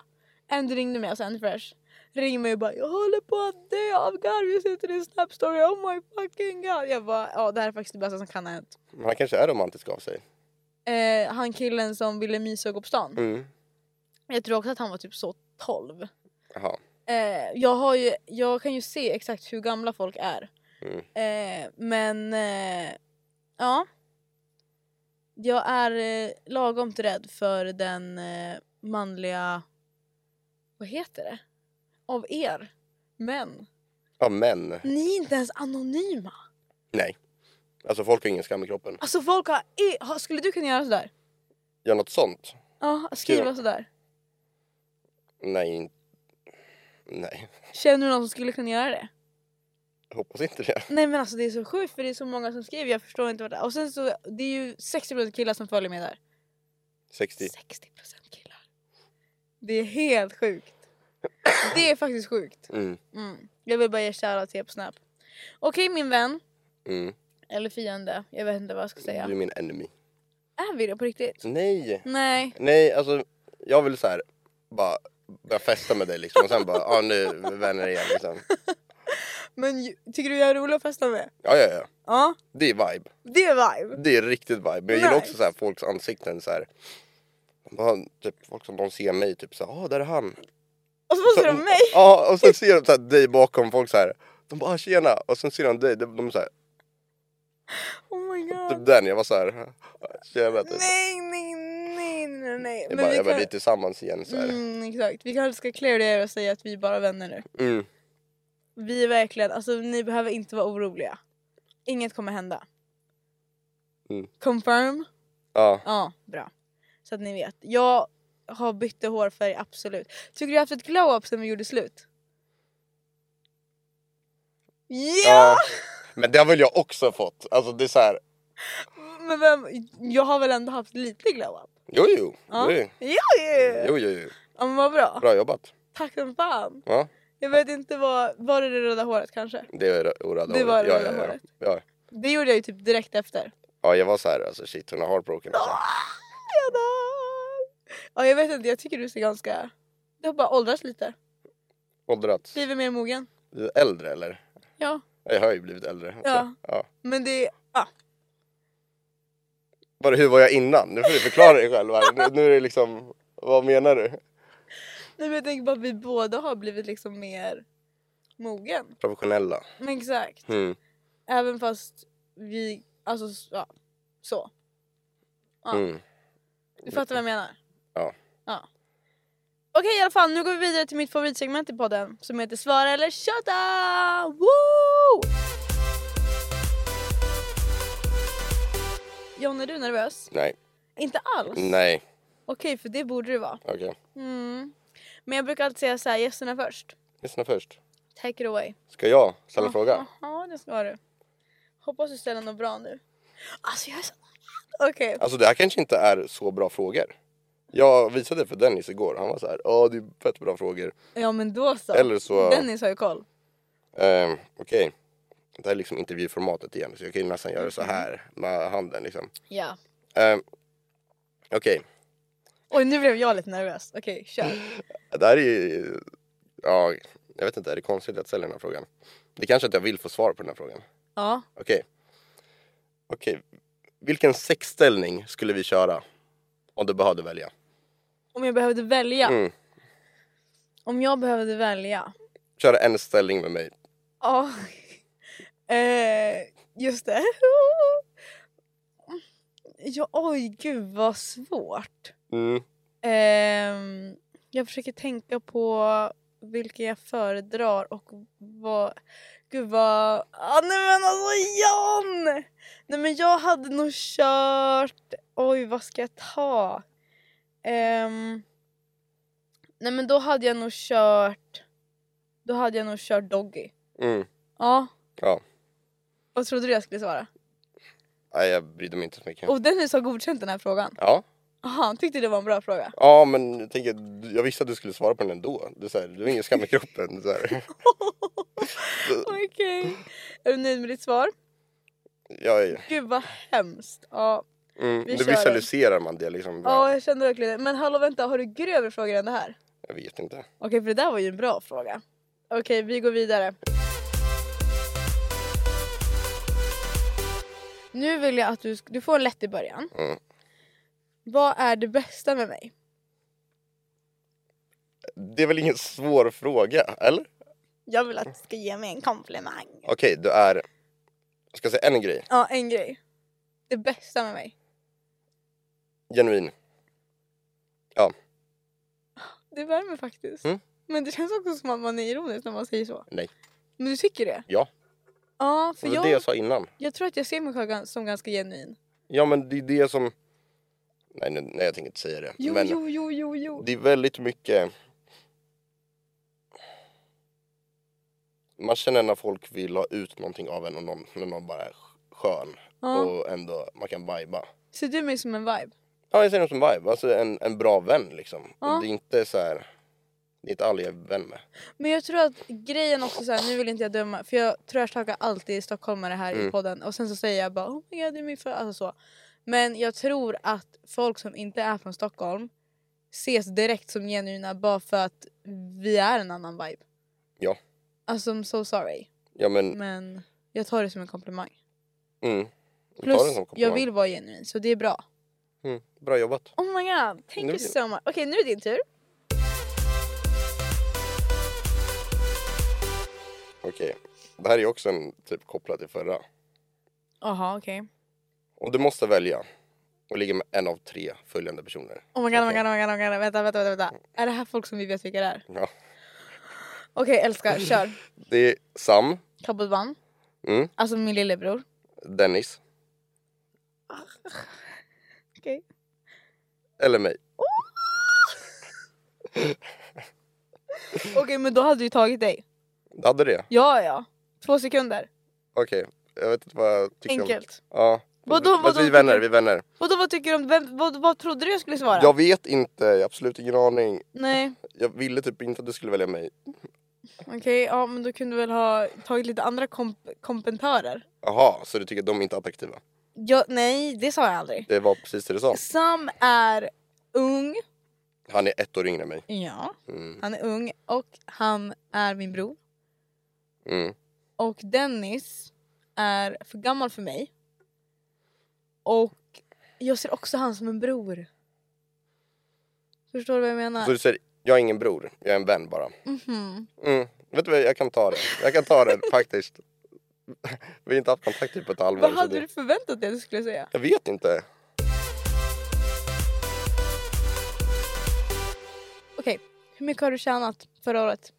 [SPEAKER 1] En ringde mig, alltså en fresh. Ring mig och bara, jag håller på att dö av garv. Jag sitter i en snap story, oh my fucking god. Jag bara, ja det här är faktiskt det bästa som kan ha hänt.
[SPEAKER 2] Men han Alltså, kanske är romantisk av sig.
[SPEAKER 1] Eh, han killen som ville mysa och gå på stan.
[SPEAKER 2] Mm.
[SPEAKER 1] Jag tror också att han var typ så 12.
[SPEAKER 2] Jaha.
[SPEAKER 1] Eh, jag, har ju, jag kan ju se exakt hur gamla folk är.
[SPEAKER 2] Mm.
[SPEAKER 1] Eh, men eh, ja. Jag är eh, lagom rädd för den eh, manliga... Vad heter det? Av er. Män.
[SPEAKER 2] Ja, men.
[SPEAKER 1] Ni är inte ens anonyma.
[SPEAKER 2] Nej. Alltså folk har ingen skam i kroppen.
[SPEAKER 1] Alltså folk har... E- har- skulle du kunna göra sådär?
[SPEAKER 2] Gör något sånt?
[SPEAKER 1] Ja, skriva
[SPEAKER 2] Skriva.
[SPEAKER 1] sådär.
[SPEAKER 2] Nej. in- Nej.
[SPEAKER 1] Känner du någon som skulle kunna göra det?
[SPEAKER 2] Jag hoppas inte det.
[SPEAKER 1] Nej men alltså det är så sjukt för det är så många som skriver, jag förstår inte vad det är. Och sen så, det är ju 60% killar som följer med där.
[SPEAKER 2] 60.
[SPEAKER 1] 60% killar. Det är helt sjukt. Det är faktiskt sjukt.
[SPEAKER 2] Mm.
[SPEAKER 1] Mm. Jag vill bara ge shoutout till er på Snap. Okej min vän,
[SPEAKER 2] Mm.
[SPEAKER 1] eller fiende, jag vet inte vad jag ska säga.
[SPEAKER 2] Du är min enemy.
[SPEAKER 1] Är vi det på riktigt?
[SPEAKER 2] Nej.
[SPEAKER 1] Nej.
[SPEAKER 2] Nej, alltså. Jag vill så här. Bara börja festa med dig liksom. Och sen bara, ja nu är vi vänner igen liksom.
[SPEAKER 1] Men ju- tycker du jag är rolig att festa med?
[SPEAKER 2] Ja, ja, ja.
[SPEAKER 1] Ja,
[SPEAKER 2] Det är vibe.
[SPEAKER 1] det är vibe.
[SPEAKER 2] Det är riktigt vibe. Men jag gillar
[SPEAKER 1] Nej.
[SPEAKER 2] också så här, folks ansikten så här. De Bara, typ, folk som de ser mig typ så här, ah där är han.
[SPEAKER 1] Och så måste de mig.
[SPEAKER 2] Ja, och sen ser de så här, dig bakom folk så här. De bara, ah, tjena. Och sen ser de dig. De, de så här,
[SPEAKER 1] Oh my god.
[SPEAKER 2] typ den. Jag var så här, tjena typ.
[SPEAKER 1] Nej, nej, nej, nej, nej.
[SPEAKER 2] Jag bara,
[SPEAKER 1] vi
[SPEAKER 2] jag bara,
[SPEAKER 1] kan-
[SPEAKER 2] vi är tillsammans igen så här.
[SPEAKER 1] Mm, exakt. Vi kanske ska clear det här och säga att vi är bara vänner nu.
[SPEAKER 2] Mm.
[SPEAKER 1] Vi är verkligen, alltså ni behöver inte vara oroliga. Inget kommer hända.
[SPEAKER 2] Mm.
[SPEAKER 1] Confirm?
[SPEAKER 2] Ja,
[SPEAKER 1] Ja, bra. Så att ni vet. Jag har bytt hårfärg, absolut. Tycker du jag har haft ett glow-up sen vi gjorde slut? Ja!
[SPEAKER 2] ja. Men det har väl jag också fått. Alltså det är så här.
[SPEAKER 1] Men vem, jag har väl ändå haft lite glow-up?
[SPEAKER 2] Jo, jo.
[SPEAKER 1] Ja.
[SPEAKER 2] Jo,
[SPEAKER 1] Ja, ju!
[SPEAKER 2] jo, jo, jo.
[SPEAKER 1] Ja, men vad bra.
[SPEAKER 2] Bra jobbat.
[SPEAKER 1] Tack som fan.
[SPEAKER 2] Ja,
[SPEAKER 1] Jag vet inte vad, var det det röda håret kanske?
[SPEAKER 2] det är orada
[SPEAKER 1] Det var det
[SPEAKER 2] ja,
[SPEAKER 1] röda
[SPEAKER 2] ja, ja.
[SPEAKER 1] håret.
[SPEAKER 2] Ja.
[SPEAKER 1] Det gjorde jag ju typ direkt efter.
[SPEAKER 2] ja, jag var så här, alltså shit hon är heartbroken. Alltså.
[SPEAKER 1] Jag dör! Ja, jag vet inte, jag tycker du ser ganska... Du har bara åldrats lite.
[SPEAKER 2] Åldrats.
[SPEAKER 1] Blivit mer mogen.
[SPEAKER 2] Äldre eller?
[SPEAKER 1] Ja.
[SPEAKER 2] Jag har ju blivit äldre. så,
[SPEAKER 1] Ja.
[SPEAKER 2] ja.
[SPEAKER 1] Men det... Ja.
[SPEAKER 2] Var det, hur var jag innan? Nu får du förklara dig själv. Här. Nu, nu är det liksom, vad menar du?
[SPEAKER 1] Nej, men jag tänker bara att vi båda har blivit liksom mer mogen.
[SPEAKER 2] Professionella.
[SPEAKER 1] Men exakt.
[SPEAKER 2] Mm.
[SPEAKER 1] Även fast vi... Alltså, s- ja. Så. Ja.
[SPEAKER 2] Mm.
[SPEAKER 1] Du fattar vad jag menar?
[SPEAKER 2] Ja.
[SPEAKER 1] Ja. Okej i alla fall, nu går vi vidare till mitt favoritsegment i podden som heter Svara eller Tjata! Woo! John, är du nervös?
[SPEAKER 2] Nej.
[SPEAKER 1] Inte alls?
[SPEAKER 2] Nej.
[SPEAKER 1] Okej, för det borde du vara.
[SPEAKER 2] Okej.
[SPEAKER 1] Mm. Men jag brukar alltid säga så här, gästerna först.
[SPEAKER 2] Lyssna först.
[SPEAKER 1] Take it away.
[SPEAKER 2] Ska jag ställa en fråga?
[SPEAKER 1] Ja, det ska du. Hoppas du ställer något bra nu. Alltså jag är så Okej.
[SPEAKER 2] Alltså det här kanske inte är så bra frågor. Jag visade för Dennis igår. Han var så här, ja det är fett bra frågor.
[SPEAKER 1] Ja men då så.
[SPEAKER 2] Eller så-
[SPEAKER 1] Dennis har ju koll.
[SPEAKER 2] Ehm, Okej. Det här är liksom intervjuformatet igen. Så jag kan ju nästan göra så här med handen liksom.
[SPEAKER 1] Ja.
[SPEAKER 2] Ehm, Okej.
[SPEAKER 1] Oj, nu blev jag lite nervös. Okej, kör.
[SPEAKER 2] Det här är ju... Ja, jag vet inte. Är det konstigt att ställa den här frågan? Det är kanske att jag vill få svar på den här frågan.
[SPEAKER 1] Ja.
[SPEAKER 2] Okej. Okej. Vilken sexställning skulle vi köra? Om du behövde välja.
[SPEAKER 1] Om jag behövde välja.
[SPEAKER 2] Mm.
[SPEAKER 1] Om jag behövde välja.
[SPEAKER 2] Köra en ställning med mig.
[SPEAKER 1] Ja. eh, just det. ja, oj, gud vad svårt.
[SPEAKER 2] Mm.
[SPEAKER 1] Ehm, jag försöker tänka på vilka jag föredrar och vad... Gud vad... Ah, nej men alltså Jan! Nej men jag hade nog kört... Oj vad ska jag ta? Ehm, nej men då hade jag nog kört... Då hade jag nog kört Doggy.
[SPEAKER 2] Mm.
[SPEAKER 1] Ja.
[SPEAKER 2] Ja.
[SPEAKER 1] Vad trodde du jag skulle svara?
[SPEAKER 2] Nej, jag brydde mig inte så mycket.
[SPEAKER 1] Och Dennis har godkänt den här frågan.
[SPEAKER 2] Ja.
[SPEAKER 1] Aha, han tyckte det var en bra fråga.
[SPEAKER 2] Ja, men jag, tänker, jag visste att du skulle svara på den ändå. Du, så här, du har ingen skam i kroppen. Så här.
[SPEAKER 1] Okej. Är du nöjd med ditt svar?
[SPEAKER 2] Jag är,
[SPEAKER 1] Gud vad hemskt. Ja,
[SPEAKER 2] mm,
[SPEAKER 1] Vi
[SPEAKER 2] nu
[SPEAKER 1] kör
[SPEAKER 2] visualiserar man det liksom.
[SPEAKER 1] ja jag kände verkligen det. Men hallå vänta, har du grövre frågor än det här?
[SPEAKER 2] Jag vet inte.
[SPEAKER 1] Okej, för det där var ju en bra fråga. Okej, vi går vidare. Nu vill jag att du, sk- du får en lätt i början.
[SPEAKER 2] Mm.
[SPEAKER 1] Vad är det bästa med mig?
[SPEAKER 2] Det är väl ingen svår fråga, eller?
[SPEAKER 1] Jag vill att du ska ge mig en komplimang.
[SPEAKER 2] Okej, du är... Jag ska säga en grej.
[SPEAKER 1] Ja, en grej. Det bästa med mig.
[SPEAKER 2] Genuin.
[SPEAKER 1] Det värmer faktiskt.
[SPEAKER 2] Mm.
[SPEAKER 1] Men det känns också som att man är ironisk när man säger så.
[SPEAKER 2] Nej.
[SPEAKER 1] Men du tycker det?
[SPEAKER 2] Ja.
[SPEAKER 1] Ja, för
[SPEAKER 2] Det var det
[SPEAKER 1] jag,
[SPEAKER 2] jag sa innan.
[SPEAKER 1] jag tror att jag ser mig själv gan- som ganska genuin.
[SPEAKER 2] Ja, men det är det som... Nej, nu, nej jag tänker inte säga det.
[SPEAKER 1] Jo,
[SPEAKER 2] men
[SPEAKER 1] jo, jo, jo, jo.
[SPEAKER 2] det är väldigt mycket... Man känner när folk vill ha ut någonting av en och någon, när någon bara är skön
[SPEAKER 1] Ja.
[SPEAKER 2] och ändå man kan vibea.
[SPEAKER 1] Ser du mig som en vibe?
[SPEAKER 2] Ja, jag ser dem som vibe. Alltså en, en bra vän liksom.
[SPEAKER 1] Ja.
[SPEAKER 2] Det är inte så här... Det är inte alla jag är vän med.
[SPEAKER 1] Men jag tror att grejen också så här, nu vill inte jag döma för jag trashtalkar alltid stockholmare här i
[SPEAKER 2] Mm.
[SPEAKER 1] podden och sen så säger jag bara oh my god det är min för alltså så. Men jag tror att folk som inte är från Stockholm ses direkt som genuina bara för att vi är en annan vibe.
[SPEAKER 2] Ja.
[SPEAKER 1] Alltså I'm so sorry
[SPEAKER 2] Ja, men...
[SPEAKER 1] men jag tar det som en komplimang.
[SPEAKER 2] Mm. Jag tar
[SPEAKER 1] Plus
[SPEAKER 2] den som
[SPEAKER 1] jag
[SPEAKER 2] komplimang.
[SPEAKER 1] vill vara genuin så det är bra.
[SPEAKER 2] Mm. Bra jobbat.
[SPEAKER 1] Oh my god, thank
[SPEAKER 2] Nu
[SPEAKER 1] you
[SPEAKER 2] är det-
[SPEAKER 1] so much. Okej nu är det din tur.
[SPEAKER 2] Okej. Det här är också en typ kopplad till förra.
[SPEAKER 1] Jaha okej.
[SPEAKER 2] Om du måste välja och ligga med en av tre följande personer.
[SPEAKER 1] Oh my god, oh my
[SPEAKER 2] Okej.
[SPEAKER 1] god, oh my god, oh my god. Vänta, vänta, vänta, vänta. Är det här folk som vi vet vilka det är?
[SPEAKER 2] Ja.
[SPEAKER 1] Okej älskar, kör.
[SPEAKER 2] Det är Sam,
[SPEAKER 1] Kabotban.
[SPEAKER 2] Mm.
[SPEAKER 1] Alltså min lillebror.
[SPEAKER 2] Dennis
[SPEAKER 1] Okej.
[SPEAKER 2] eller mig.
[SPEAKER 1] Okej men då hade du tagit dig.
[SPEAKER 2] Hade det?
[SPEAKER 1] Ja ja. Två sekunder.
[SPEAKER 2] Okej. Jag vet inte vad jag tycker
[SPEAKER 1] Enkelt.
[SPEAKER 2] om... Ja.
[SPEAKER 1] Vadå,
[SPEAKER 2] Men
[SPEAKER 1] vadå,
[SPEAKER 2] vi är vänner, vi är vänner.
[SPEAKER 1] Vadå vad tycker du om vem, vad, vad trodde du jag skulle svara?
[SPEAKER 2] Jag vet inte, jag har absolut ingen aning.
[SPEAKER 1] Nej
[SPEAKER 2] Jag ville typ inte att du skulle välja mig.
[SPEAKER 1] okej ja men då kunde du väl ha tagit lite andra komp- kompentörer.
[SPEAKER 2] Jaha, så du tycker att de inte är attraktiva?
[SPEAKER 1] Ja, nej det sa jag aldrig.
[SPEAKER 2] Det var precis det du sa.
[SPEAKER 1] Sam är ung.
[SPEAKER 2] Han är ett år yngre än mig.
[SPEAKER 1] Ja
[SPEAKER 2] Mm.
[SPEAKER 1] han är ung och han är min bror.
[SPEAKER 2] Mm.
[SPEAKER 1] Och Dennis är för gammal för mig. Och jag ser också han som en bror. Förstår du vad jag menar?
[SPEAKER 2] Så du säger, jag är ingen bror, jag är en vän bara.
[SPEAKER 1] Mhm.
[SPEAKER 2] Mm. Vet du vad, jag kan ta det. Jag kan ta det faktiskt. Vi har inte haft kontakt typ på ett halvår.
[SPEAKER 1] Vad
[SPEAKER 2] så
[SPEAKER 1] hade
[SPEAKER 2] det-
[SPEAKER 1] du förväntat dig att du skulle säga?
[SPEAKER 2] Jag vet inte.
[SPEAKER 1] Okej, hur mycket har du tjänat förra året?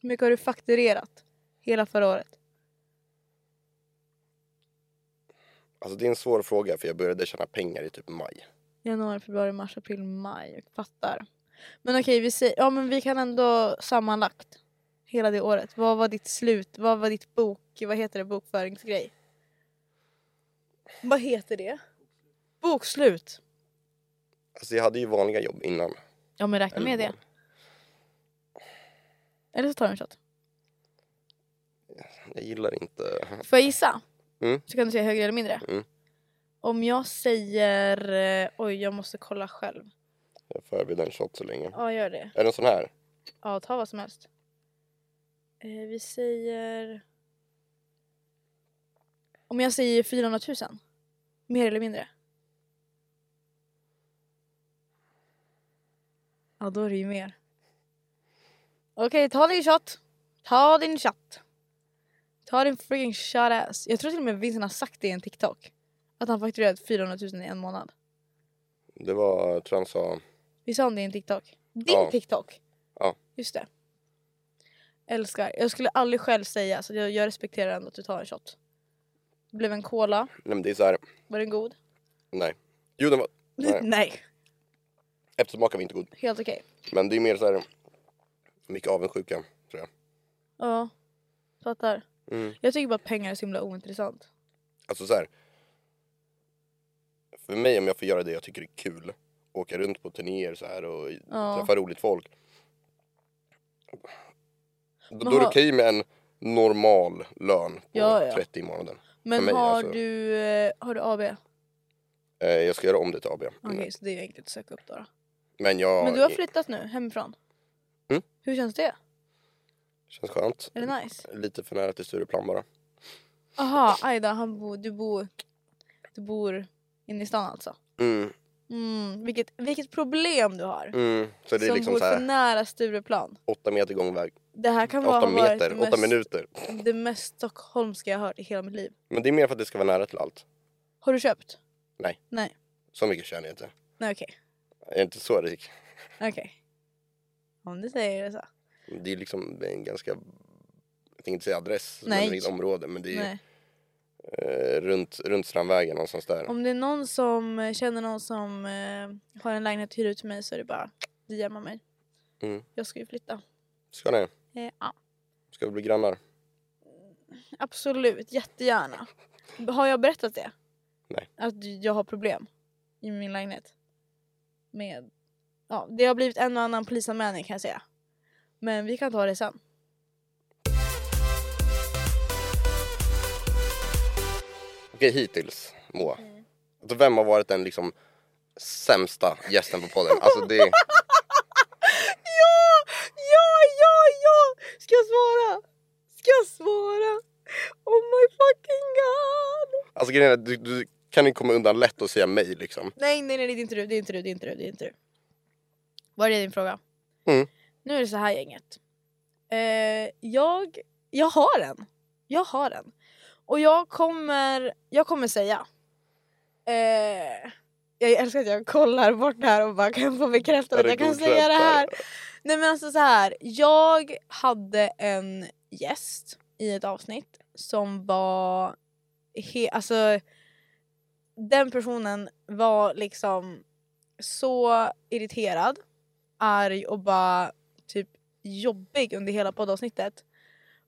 [SPEAKER 1] Hur mycket har du fakturerat hela förra året?
[SPEAKER 2] Alltså det är en svår fråga för jag började tjäna pengar i typ maj.
[SPEAKER 1] Januari, februari, mars, april, maj. Jag fattar. Men okej, vi säger, ja men vi kan ändå sammanlagt hela det året. Vad var ditt slut? Vad var ditt bok? Vad heter det? Bokföringsgrej? Vad heter det? Bokslut.
[SPEAKER 2] Alltså jag hade ju vanliga jobb innan.
[SPEAKER 1] Ja men räkna med det. Eller så tar du en shot.
[SPEAKER 2] Jag gillar inte...
[SPEAKER 1] Får jag gissa?
[SPEAKER 2] Mm.
[SPEAKER 1] Så kan du säga högre eller mindre.
[SPEAKER 2] Mm.
[SPEAKER 1] Om jag säger... eh, Oj, jag måste kolla själv.
[SPEAKER 2] Jag förbereder en shot så länge.
[SPEAKER 1] Ja, gör det.
[SPEAKER 2] Är det en sån här?
[SPEAKER 1] Ja, ta vad som helst. Eh, vi säger... Om jag säger 400 000? Mer eller mindre? Ja, då är det ju mer. Okej, ta din shot. Ta din shot. Ta din freaking shot ass. Jag tror till och med Vincent har sagt det i en TikTok. Att han fakturerat 400 000 i en månad.
[SPEAKER 2] Det var, tror han sa...
[SPEAKER 1] Vi sa om det i en TikTok. Din
[SPEAKER 2] Ja.
[SPEAKER 1] TikTok?
[SPEAKER 2] Ja.
[SPEAKER 1] Just det. Älskar. Jag skulle aldrig själv säga så jag, jag respekterar ändå att du tar en shot. Det blev en cola.
[SPEAKER 2] Nej men det är så här...
[SPEAKER 1] Var den god?
[SPEAKER 2] Nej. Jo den var... Nej.
[SPEAKER 1] Nej.
[SPEAKER 2] Eftersmaken var inte god.
[SPEAKER 1] Helt okej.
[SPEAKER 2] Men det är mer så här... Mycket avundsjuka tror jag.
[SPEAKER 1] Ja. Fattar.
[SPEAKER 2] Mm.
[SPEAKER 1] Jag tycker bara att pengar är så himla ointressant.
[SPEAKER 2] Alltså så här... För mig om jag får göra det jag tycker är kul. Åka runt på turnéer så här och
[SPEAKER 1] Ja.
[SPEAKER 2] träffa roligt folk. Då, då är
[SPEAKER 1] Men
[SPEAKER 2] det
[SPEAKER 1] har-
[SPEAKER 2] okej med en normal lön på
[SPEAKER 1] Ja, ja.
[SPEAKER 2] 30 i månaden.
[SPEAKER 1] Men
[SPEAKER 2] För mig,
[SPEAKER 1] har,
[SPEAKER 2] alltså.
[SPEAKER 1] du, eh, har du AB? Okej,
[SPEAKER 2] Eh, jag ska göra om det till AB.
[SPEAKER 1] så det är ju enkelt att söka upp då. då.
[SPEAKER 2] Men jag...
[SPEAKER 1] Men du har flyttat nu, hemifrån?
[SPEAKER 2] Mm.
[SPEAKER 1] Hur känns det?
[SPEAKER 2] Känns skönt.
[SPEAKER 1] Är det nice?
[SPEAKER 2] Lite för nära till Stureplan bara.
[SPEAKER 1] Aha, Aida, han bo, du, bor, du bor inne i stan alltså?
[SPEAKER 2] Mm,
[SPEAKER 1] Mm, vilket, vilket problem du har!
[SPEAKER 2] mm. Så det är
[SPEAKER 1] som
[SPEAKER 2] liksom
[SPEAKER 1] bor
[SPEAKER 2] så
[SPEAKER 1] för
[SPEAKER 2] här
[SPEAKER 1] nära Stureplan.
[SPEAKER 2] åtta meter gångväg.
[SPEAKER 1] Det här kan vara
[SPEAKER 2] Åtta
[SPEAKER 1] ha varit det
[SPEAKER 2] meter, åtta
[SPEAKER 1] mest-
[SPEAKER 2] minuter.
[SPEAKER 1] det mest stockholmska jag har hört i hela mitt liv.
[SPEAKER 2] Men det är mer för att det ska vara nära till allt.
[SPEAKER 1] Har du köpt?
[SPEAKER 2] Nej.
[SPEAKER 1] Nej,
[SPEAKER 2] Så mycket känner jag inte.
[SPEAKER 1] nej okej.
[SPEAKER 2] Jag är inte så rik.
[SPEAKER 1] Okej. Om du säger det så.
[SPEAKER 2] Det är liksom det är en ganska... Jag tänkte inte säga adress,
[SPEAKER 1] Nej.
[SPEAKER 2] men vilket område. Men det är
[SPEAKER 1] Nej.
[SPEAKER 2] eh, runt, runt Strandvägen någonstans där.
[SPEAKER 1] Om det är någon som eh, känner någon som eh, har en lägenhet och hyr ut till mig så är det bara DMa mig.
[SPEAKER 2] Mm.
[SPEAKER 1] Jag ska ju flytta.
[SPEAKER 2] Ska ni?
[SPEAKER 1] Eh, ja.
[SPEAKER 2] Ska vi bli grannar?
[SPEAKER 1] Absolut, jättegärna. Har jag berättat det?
[SPEAKER 2] Nej.
[SPEAKER 1] Att jag har problem i min lägenhet? Med... Ja, det har blivit en och annan polisanmälning kan jag säga. Men vi kan ta det sen.
[SPEAKER 2] Okej, hittills Moa. Alltså, vem har varit den liksom sämsta gästen på podden? Alltså det...
[SPEAKER 1] Ja! Ja, ja, ja! Ska jag svara? Ska jag svara? Oh my fucking god!
[SPEAKER 2] Alltså grejen är, att du, du kan ju komma undan lätt och säga mig liksom.
[SPEAKER 1] Nej, nej, nej, det är inte du, det är inte du, det är inte du, det är inte du. Var är din fråga?
[SPEAKER 2] Mm.
[SPEAKER 1] Nu är det så här gänget. Eh, jag, jag har en. Jag har en. Och jag kommer, jag kommer säga. Eh, jag älskar att jag kollar bort det här och bara kan få bekräftat
[SPEAKER 2] Är
[SPEAKER 1] att
[SPEAKER 2] det
[SPEAKER 1] jag kan
[SPEAKER 2] godkänt
[SPEAKER 1] säga det
[SPEAKER 2] där?
[SPEAKER 1] här. Nej men alltså så här. jag hade en gäst i ett avsnitt som var... He- alltså den personen var liksom så irriterad, arg och bara typ jobbig under hela poddavsnittet.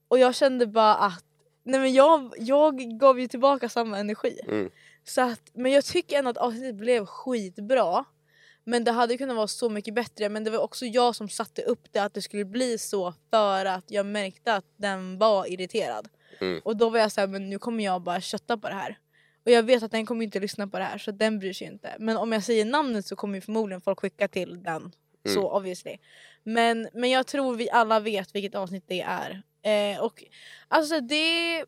[SPEAKER 1] Och jag kände bara att nej men jag, jag gav ju tillbaka samma energi.
[SPEAKER 2] Mm.
[SPEAKER 1] Så att, men jag tycker ändå att avsnittet blev skitbra. Men det hade kunnat vara så mycket bättre. Men det var också jag som satte upp det att det skulle bli så för att jag märkte att den var irriterad.
[SPEAKER 2] Mm.
[SPEAKER 1] Och då var jag så här, men nu kommer jag bara kötta på det här. Och jag vet att den kommer inte lyssna på det här så den bryr sig inte. Men om jag säger namnet så kommer ju förmodligen folk skicka till den.
[SPEAKER 2] Mm.
[SPEAKER 1] Så obviously. Men, men jag tror vi alla vet vilket avsnitt det är. Eh, och alltså det är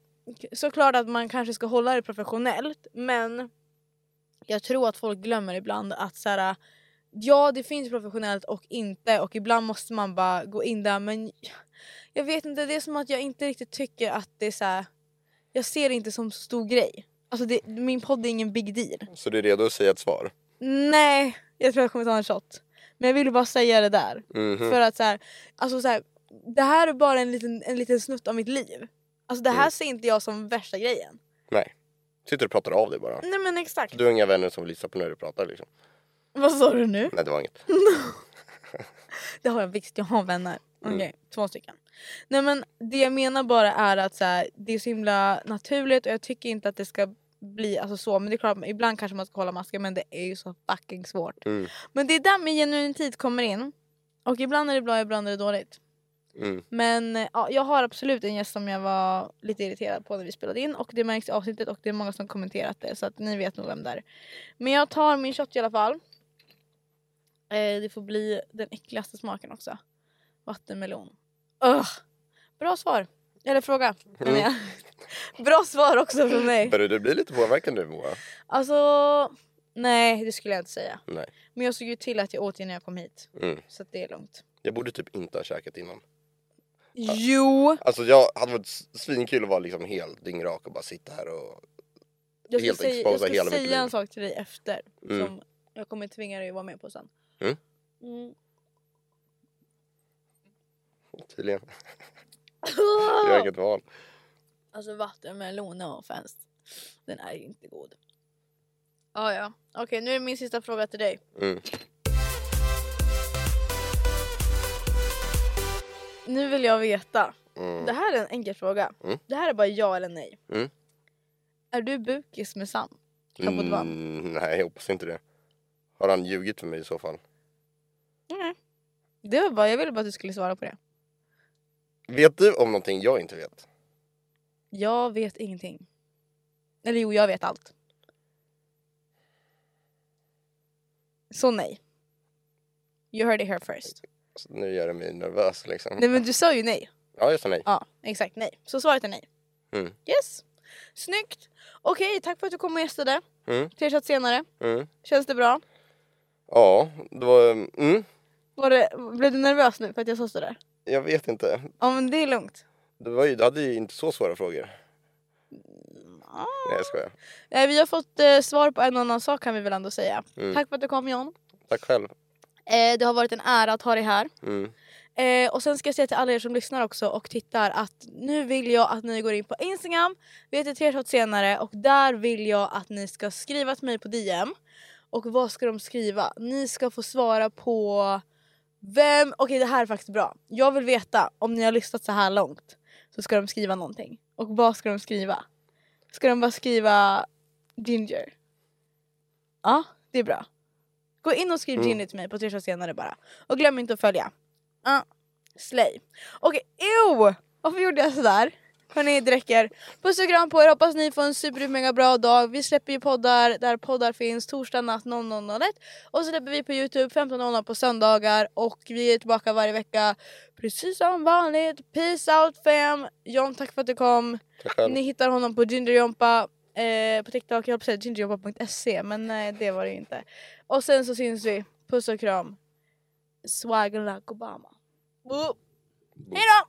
[SPEAKER 1] såklart att man kanske ska hålla det professionellt men jag tror att folk glömmer ibland att så här, ja det finns professionellt och inte och ibland måste man bara gå in där men jag vet inte, det är som att jag inte riktigt tycker att det är så här. jag ser det inte som så stor grej. Alltså det, min podd är ingen big deal.
[SPEAKER 2] Så du är redo att säga ett svar?
[SPEAKER 1] Nej, jag tror jag kommer ta en shot. Men jag ville bara säga det där.
[SPEAKER 2] Mhm.
[SPEAKER 1] För att så här, alltså så här, det här är bara en liten, en liten snutt av mitt liv. Alltså det här ser inte jag som värsta grejen.
[SPEAKER 2] Nej. Sitter och pratar av dig bara.
[SPEAKER 1] Nej men exakt.
[SPEAKER 2] Du har inga vänner som lyssnar på när du pratar liksom.
[SPEAKER 1] Vad sa du nu?
[SPEAKER 2] Nej det var inget.
[SPEAKER 1] Det har jag visst, jag har vänner. Okej, två stycken. Nej men det jag menar bara är att så här, det är så himla naturligt och jag tycker inte att det ska bli alltså så. Men det är klart, ibland kanske man ska hålla masken men det är ju så fucking svårt.
[SPEAKER 2] Mm.
[SPEAKER 1] Men det är där min genuin tid kommer in. Och ibland är det bra, ibland är det dåligt.
[SPEAKER 2] Mm.
[SPEAKER 1] Men eh, ja, jag har absolut en gäst som jag var lite irriterad på när vi spelade in och det märks i avsnittet och det är många som kommenterat det så att ni vet nog vem det är. Men jag tar min shot i alla fall. Eh, det får bli den äckligaste smaken också. Vattenmelon. Ugh. Bra svar. Eller fråga menar jag. Bra svar också från mig.
[SPEAKER 2] Börjar du bli lite påverkad nu Moa?
[SPEAKER 1] Alltså, nej det skulle jag inte säga.
[SPEAKER 2] Nej.
[SPEAKER 1] Men jag såg ju till att jag åt det när jag kom hit.
[SPEAKER 2] Mm.
[SPEAKER 1] Så att det är lugnt.
[SPEAKER 2] Jag borde typ inte ha käkat innan.
[SPEAKER 1] Jo!
[SPEAKER 2] Alltså jag hade varit s- svinkul att vara liksom helt dyngrak och bara sitta här och...
[SPEAKER 1] Jag ska
[SPEAKER 2] Helt
[SPEAKER 1] säga, jag
[SPEAKER 2] exposa
[SPEAKER 1] ska
[SPEAKER 2] hela mitt
[SPEAKER 1] säga
[SPEAKER 2] liv.
[SPEAKER 1] en sak till dig efter.
[SPEAKER 2] Mm.
[SPEAKER 1] Som jag kommer tvinga dig att vara med på sen.
[SPEAKER 2] Mm.
[SPEAKER 1] Mm.
[SPEAKER 2] Tydligen.
[SPEAKER 1] Ah.
[SPEAKER 2] Jag har inget val.
[SPEAKER 1] Alltså vattenmelon, no offense. Den är inte god. Ah, ja, okej nu är min sista fråga till dig.
[SPEAKER 2] Mm.
[SPEAKER 1] Nu vill jag veta.
[SPEAKER 2] Mm.
[SPEAKER 1] Det här är en enkel fråga.
[SPEAKER 2] Mm.
[SPEAKER 1] Det här är bara ja eller nej.
[SPEAKER 2] Mm.
[SPEAKER 1] Är du bukis med Sam? Kapodvan?
[SPEAKER 2] Mm, nej jag hoppas inte det. Har han ljugit för mig i så fall?
[SPEAKER 1] Nej. Det var bara, jag ville bara att du skulle svara på det.
[SPEAKER 2] Vet du om någonting jag inte vet?
[SPEAKER 1] Jag vet ingenting. Eller jo, jag vet allt. Så nej. You heard it here first.
[SPEAKER 2] Så Alltså, nu gör det mig nervös liksom.
[SPEAKER 1] Nej men du sa ju nej.
[SPEAKER 2] Ja, jag sa nej.
[SPEAKER 1] Ja, exakt nej. Så svaret är nej.
[SPEAKER 2] Mm.
[SPEAKER 1] Yes. Snyggt. Okej, tack för att du kom och gästade.
[SPEAKER 2] Mm.
[SPEAKER 1] Tre chatt senare.
[SPEAKER 2] Mm.
[SPEAKER 1] Känns det bra?
[SPEAKER 2] Ja, det var... Mm,
[SPEAKER 1] Var det, blev du nervös nu för att jag sa sådär?
[SPEAKER 2] jag vet inte.
[SPEAKER 1] Ja men det är lugnt.
[SPEAKER 2] Det var ju, du hade ju inte så svåra frågor. Nej, jag skojar.
[SPEAKER 1] Eh, vi har fått eh, svar på en annan sak kan vi väl ändå säga.
[SPEAKER 2] Mm.
[SPEAKER 1] Tack för att du kom John.
[SPEAKER 2] Tack själv.
[SPEAKER 1] Eh, det har varit en ära att ha dig här.
[SPEAKER 2] Mm.
[SPEAKER 1] Eh, och sen ska jag säga till alla er som lyssnar också och tittar att nu vill jag att ni går in på Instagram, vi heter tre shot senare och där vill jag att ni ska skriva till mig på DM. Och vad ska de skriva? Ni ska få svara på vem... Okej det här är faktiskt bra. Jag vill veta om ni har lyssnat så här långt så ska de skriva någonting. Och vad ska de skriva? Ska de bara skriva Ginger? Ja, det är bra. Gå in och skriv Ginger till mig på tre shot senare bara. Och glöm inte att följa. Ah, slay. Okej, ew! Varför gjorde jag sådär? Hörni dräcker, puss och kram på er, hoppas ni får en super mega bra dag. Vi släpper ju poddar där poddar finns torsdag natt 00.01 och så släpper vi på Youtube 15.00 på söndagar och vi är tillbaka varje vecka precis som vanligt. Peace out fam! John tack för att du kom.
[SPEAKER 2] Tack själv.
[SPEAKER 1] Ni hittar honom på gingerjompa eh, på TikTok, jag höll på att säga gingerjompa.se men nej det var det ju inte. Och sen så syns vi, puss och kram. Swagger like Obama. Boop. Hej då!